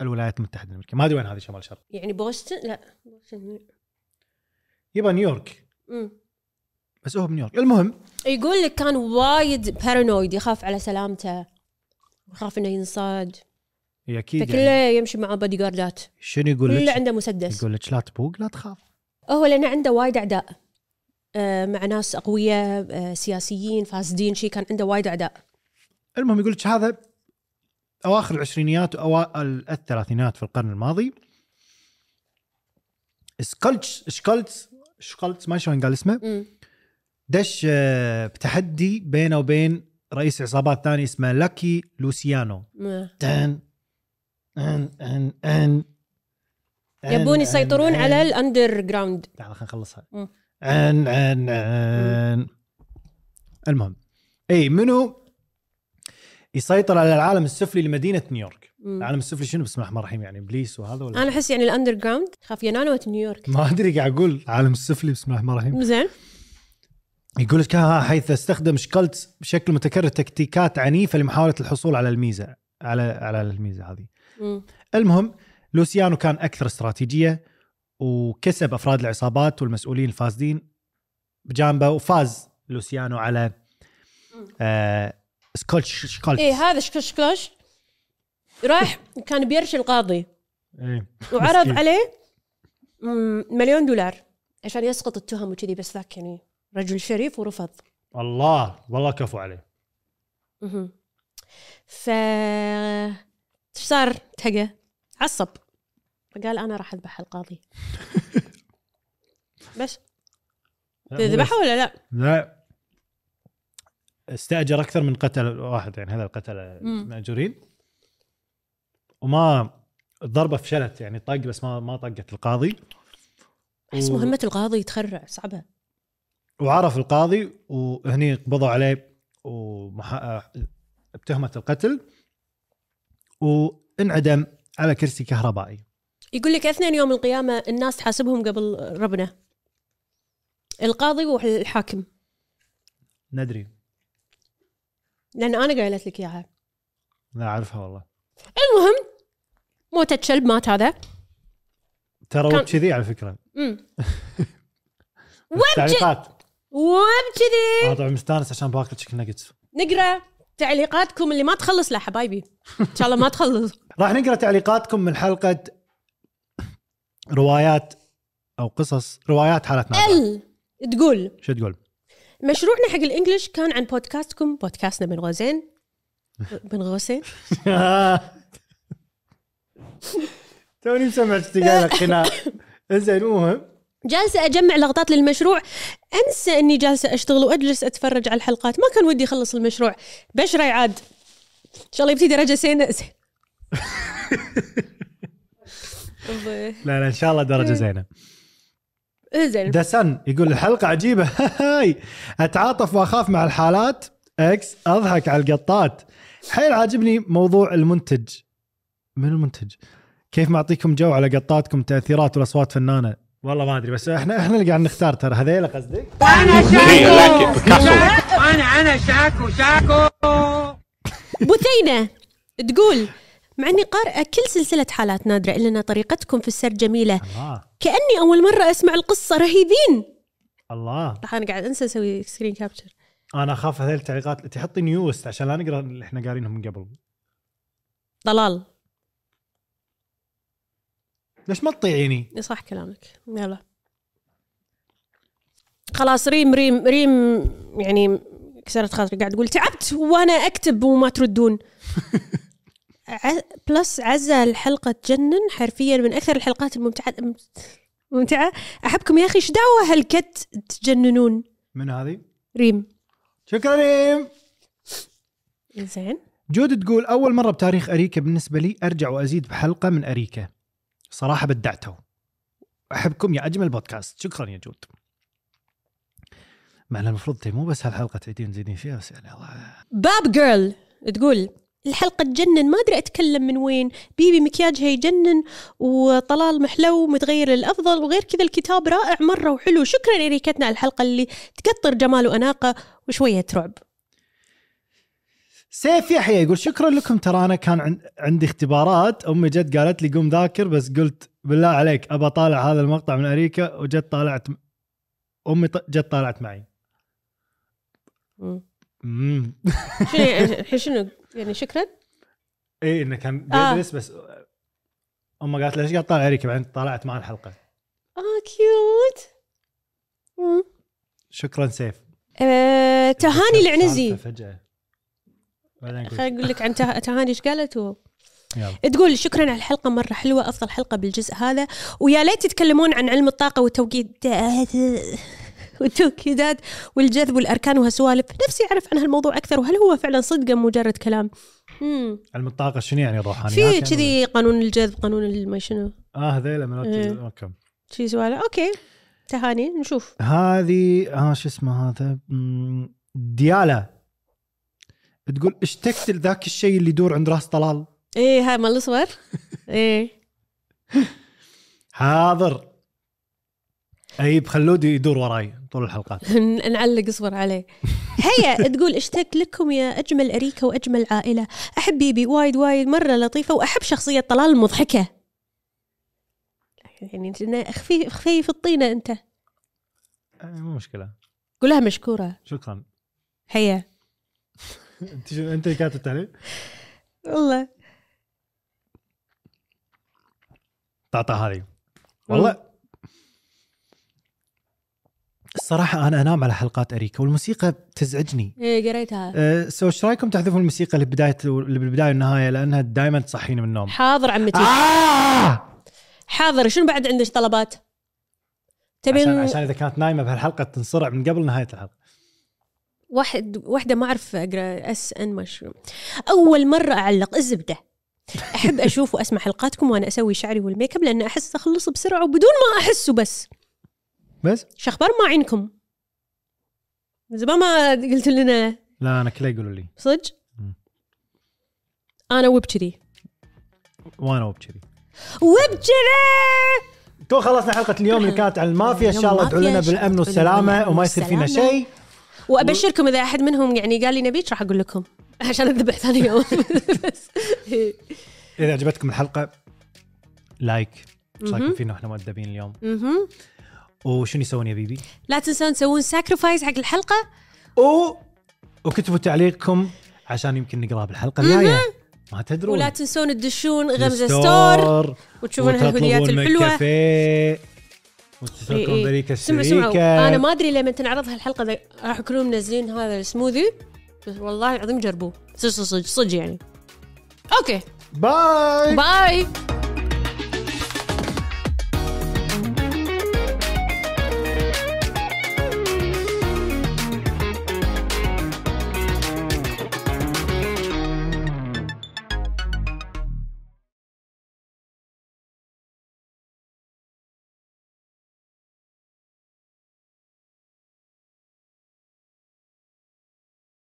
Speaker 1: الولايات المتحده الامريكيه، ما ادري وين هذه شمال شرق.
Speaker 2: يعني بوسطن لا بوسطن
Speaker 1: يبقى نيويورك
Speaker 2: مم.
Speaker 1: بس هو بنيويورك، المهم
Speaker 2: يقول لك كان وايد بارانويد يخاف على سلامته يخاف انه ينصاد
Speaker 1: هي اكيد
Speaker 2: فكله
Speaker 1: يعني
Speaker 2: يمشي معه بادي جاردات
Speaker 1: شنو يقول
Speaker 2: كله
Speaker 1: لك؟
Speaker 2: عنده مسدس
Speaker 1: يقول لك لا تبوق لا تخاف.
Speaker 2: هو لانه عنده وايد اعداء آه، مع ناس اقوياء آه، سياسيين فاسدين شي كان عنده وايد اعداء
Speaker 1: المهم يقول لك هذا اواخر العشرينيات واوائل الثلاثينات في القرن الماضي سكولتش سكولتش سكولتش ما شلون قال اسمه
Speaker 2: مم.
Speaker 1: دش آه، بتحدي بينه وبين رئيس عصابات ثاني اسمه لاكي لوسيانو
Speaker 2: مم.
Speaker 1: تن ان ان ان
Speaker 2: يبون يسيطرون على الاندر جراوند
Speaker 1: لحظه خلينا نخلصها
Speaker 2: مم.
Speaker 1: عن عن عن المهم اي منو يسيطر على العالم السفلي لمدينه نيويورك العالم السفلي شنو بسم الله الرحمن الرحيم يعني ابليس وهذا ولا
Speaker 2: انا احس يعني الاندر جراوند خاف ينانوة نيويورك
Speaker 1: ما ادري قاعد اقول العالم السفلي بسم الله الرحمن الرحيم
Speaker 2: زين
Speaker 1: يقول لك ها- حيث استخدم شكلت بشكل متكرر تكتيكات عنيفه لمحاوله الحصول على الميزه على على الميزه هذه
Speaker 2: مم.
Speaker 1: المهم لوسيانو كان اكثر استراتيجيه وكسب افراد العصابات والمسؤولين الفاسدين بجانبه وفاز لوسيانو على آه سكولتش سكولتش
Speaker 2: اي إيه، هذا شكش كلاش راح كان بيرش القاضي
Speaker 1: إيه.
Speaker 2: وعرض
Speaker 1: مسكين.
Speaker 2: عليه مم، مليون دولار عشان يسقط التهم وكذي بس ذاك يعني رجل شريف ورفض
Speaker 1: الله والله كفو عليه
Speaker 2: مهم. ف إيش صار تهقى عصب فقال انا راح اذبح القاضي بس ذبحه ولا لا؟
Speaker 1: لا استاجر اكثر من قتل واحد يعني هذا القتل
Speaker 2: مم.
Speaker 1: ماجورين وما الضربه فشلت يعني طق بس ما ما طقت القاضي
Speaker 2: احس
Speaker 1: و-
Speaker 2: مهمه القاضي تخرع صعبه
Speaker 1: وعرف القاضي وهني قبضوا عليه ومح... بتهمة القتل وانعدم على كرسي كهربائي
Speaker 2: يقول لك اثنين يوم القيامه الناس تحاسبهم قبل ربنا القاضي والحاكم
Speaker 1: ندري
Speaker 2: لان انا قالت لك اياها
Speaker 1: لا اعرفها والله
Speaker 2: المهم موتة كلب مات هذا
Speaker 1: ترى
Speaker 2: كان-
Speaker 1: وب كذي على فكره
Speaker 2: امم
Speaker 1: تعليقات
Speaker 2: وبكذي
Speaker 1: انا طبعا مستانس عشان باكل تشيكن ناجتس
Speaker 2: نقرا تعليقاتكم اللي ما تخلص لا حبايبي ان شاء الله ما تخلص
Speaker 1: راح نقرا تعليقاتكم من حلقه روايات او قصص روايات حالتنا
Speaker 2: ال تقول
Speaker 1: شو تقول؟
Speaker 2: مشروعنا حق الانجليش كان عن بودكاستكم بودكاستنا بين غوزين بين غوسين
Speaker 1: توني مسمع اشتغال القناع زين المهم
Speaker 2: جالسه اجمع لقطات للمشروع انسى اني جالسه اشتغل واجلس اتفرج على الحلقات ما كان ودي اخلص المشروع بشرى يعاد ان شاء الله يبتدي درجه سينة زين
Speaker 1: لا لا ان شاء الله درجه زينه
Speaker 2: زين
Speaker 1: دسن يقول الحلقه عجيبه هاي اتعاطف واخاف مع الحالات اكس اضحك على القطات حيل عاجبني موضوع المنتج من المنتج كيف معطيكم جو على قطاتكم تاثيرات والاصوات فنانه والله ما ادري بس احنا احنا اللي قاعد نختار ترى هذيلا قصدك
Speaker 5: Okay, I like it Picasso.
Speaker 2: بثينة تقول مع اني قارئه كل سلسله حالات نادره الا ان طريقتكم في السرد جميله
Speaker 1: الله
Speaker 2: كاني اول مره اسمع القصه رهيبين
Speaker 1: الله
Speaker 2: راح انا قاعد انسى اسوي سكرين كابتشر
Speaker 1: انا اخاف هذيل التعليقات تحطي نيوست عشان لا نقرا اللي احنا قارينهم من قبل
Speaker 2: طلال
Speaker 1: ليش ما تطيعيني؟
Speaker 2: صح كلامك يلا خلاص ريم ريم ريم يعني كسرت خاطري قاعد تقول تعبت وانا اكتب وما تردون ع- بلس عزة الحلقة تجنن حرفيا من أكثر الحلقات الممتعة ممتعة أحبكم يا أخي إيش دعوة هالكت تجننون
Speaker 1: من هذه؟
Speaker 2: ريم
Speaker 1: شكرا ريم
Speaker 2: زين
Speaker 1: جود تقول اول مره بتاريخ اريكا بالنسبه لي ارجع وازيد بحلقه من اريكا صراحه بدعتوا احبكم يا اجمل بودكاست شكرا يا جود مع إن المفروض تي مو بس هالحلقه تعيدين تزيدين فيها بس يعني الله
Speaker 2: باب جيرل تقول الحلقة تجنن ما أدري أتكلم من وين بيبي مكياجها يجنن وطلال محلو متغير للأفضل وغير كذا الكتاب رائع مرة وحلو شكرا إريكتنا على الحلقة اللي تقطر جمال وأناقة وشوية رعب
Speaker 1: سيف يحيى يقول شكرا لكم ترى انا كان عن- عندي اختبارات امي جت قالت لي قوم ذاكر بس قلت بالله عليك ابى طالع هذا المقطع من اريكا وجت طالعت امي ط- جت طالعت معي امم
Speaker 2: شنو الحين شنو يعني شكرا
Speaker 1: اي انه إيه، كان
Speaker 2: آه.
Speaker 1: بيدرس بس امه قالت له ليش قاعد طالع اريكا بعدين طلعت مع الحلقه
Speaker 2: آه كيوت مم.
Speaker 1: شكرا سيف
Speaker 2: آه، تهاني
Speaker 1: ذكرت
Speaker 2: العنزي
Speaker 1: سالفة فجاه بعدين قلت.
Speaker 2: خليني اقول لك عن ته- تهاني ايش قالت و...
Speaker 1: يلا.
Speaker 2: تقول شكرا على الحلقه مره حلوه افضل حلقه بالجزء هذا ويا ليت تتكلمون عن علم الطاقه والتوقيت والتوكيدات والجذب والاركان وهالسوالف نفسي اعرف عن هالموضوع اكثر وهل هو فعلا صدقا مجرد كلام مم.
Speaker 1: علم الطاقه شنو يعني الروحانيات
Speaker 2: في
Speaker 1: يعني؟
Speaker 2: كذي قانون الجذب قانون الما شنو
Speaker 1: اه هذيلا من
Speaker 2: إيه.
Speaker 1: اوكي
Speaker 2: شي سوالف اوكي تهاني نشوف
Speaker 1: هذه اه شو اسمه هذا مم، ديالا تقول اشتقت لذاك الشيء اللي يدور عند راس طلال
Speaker 2: ايه هاي مال الصور ايه
Speaker 1: حاضر اي بخلود يدور وراي طول الحلقات
Speaker 2: ن- نعلق صور عليه هيا تقول اشتقت لكم يا اجمل اريكه واجمل عائله احب بيبي وايد وايد مره لطيفه واحب شخصيه طلال المضحكه يعني انت إنه خفيف خفيف الطينه انت
Speaker 1: آه، مو مشكله
Speaker 2: قولها مشكوره
Speaker 1: شكرا
Speaker 2: هيا
Speaker 1: انت شو- انت اللي كاتبت عليه
Speaker 2: والله
Speaker 1: تعطى هذه والله الصراحة أنا أنام على حلقات أريكا والموسيقى تزعجني
Speaker 2: ايه قريتها
Speaker 1: أه سو ايش رايكم تحذفوا الموسيقى اللي بداية اللي بالبداية والنهاية لأنها دائما تصحيني من النوم
Speaker 2: حاضر عمتي
Speaker 1: آه!
Speaker 2: حاضر شنو بعد عندك طلبات تبين
Speaker 1: عشان, عشان إذا كانت نايمة بهالحلقة تنصرع من قبل نهاية الحلقة
Speaker 2: واحد واحدة ما أعرف أقرأ اس ان مشروم أول مرة أعلق الزبدة أحب أشوف وأسمع حلقاتكم وأنا أسوي شعري والميك اب لأن أحس أخلصه بسرعة وبدون ما أحسه بس
Speaker 1: بس
Speaker 2: شخبار ما عينكم من زمان ما قلت لنا
Speaker 1: لا أنا كله يقولوا لي
Speaker 2: صدق
Speaker 1: مم.
Speaker 2: أنا وبكذي
Speaker 1: وأنا وبكذي
Speaker 2: وبكذي
Speaker 1: تو خلصنا حلقة اليوم اللي كانت عن المافيا إن شاء الله ادعوا لنا
Speaker 2: المافيا، إن شاء
Speaker 1: بالأمن
Speaker 2: الله تدعوا لنا
Speaker 1: والسلامة
Speaker 2: بالأمن
Speaker 1: وما يصير فينا
Speaker 2: والسلامة.
Speaker 1: شيء
Speaker 2: وأبشركم إذا أحد منهم يعني قال لي نبيك راح أقول لكم عشان أذبح ثاني يوم بس إيه.
Speaker 1: إذا عجبتكم الحلقة لايك ايش رايكم فينا احنا مؤدبين اليوم
Speaker 2: مهم.
Speaker 1: وشنو يسوون يا بيبي؟
Speaker 2: لا تنسون تسوون ساكرفايس حق الحلقة
Speaker 1: و وكتبوا تعليقكم عشان يمكن نقراه بالحلقه الجايه ما تدرون
Speaker 2: ولا تنسون تدشون غمزه ستور وتشوفون هالهديات الحلوه
Speaker 1: كافيه
Speaker 2: إي
Speaker 1: وتسوقون
Speaker 2: إي.
Speaker 1: بريكه
Speaker 2: إيه، سمعوا سمعوا انا
Speaker 1: الشريكه
Speaker 2: ما ادري لما تنعرض هالحلقه ذا- راح يكونون منزلين هذا السموذي بس والله العظيم جربوه صدق صدق صدق يعني اوكي
Speaker 1: باي
Speaker 2: باي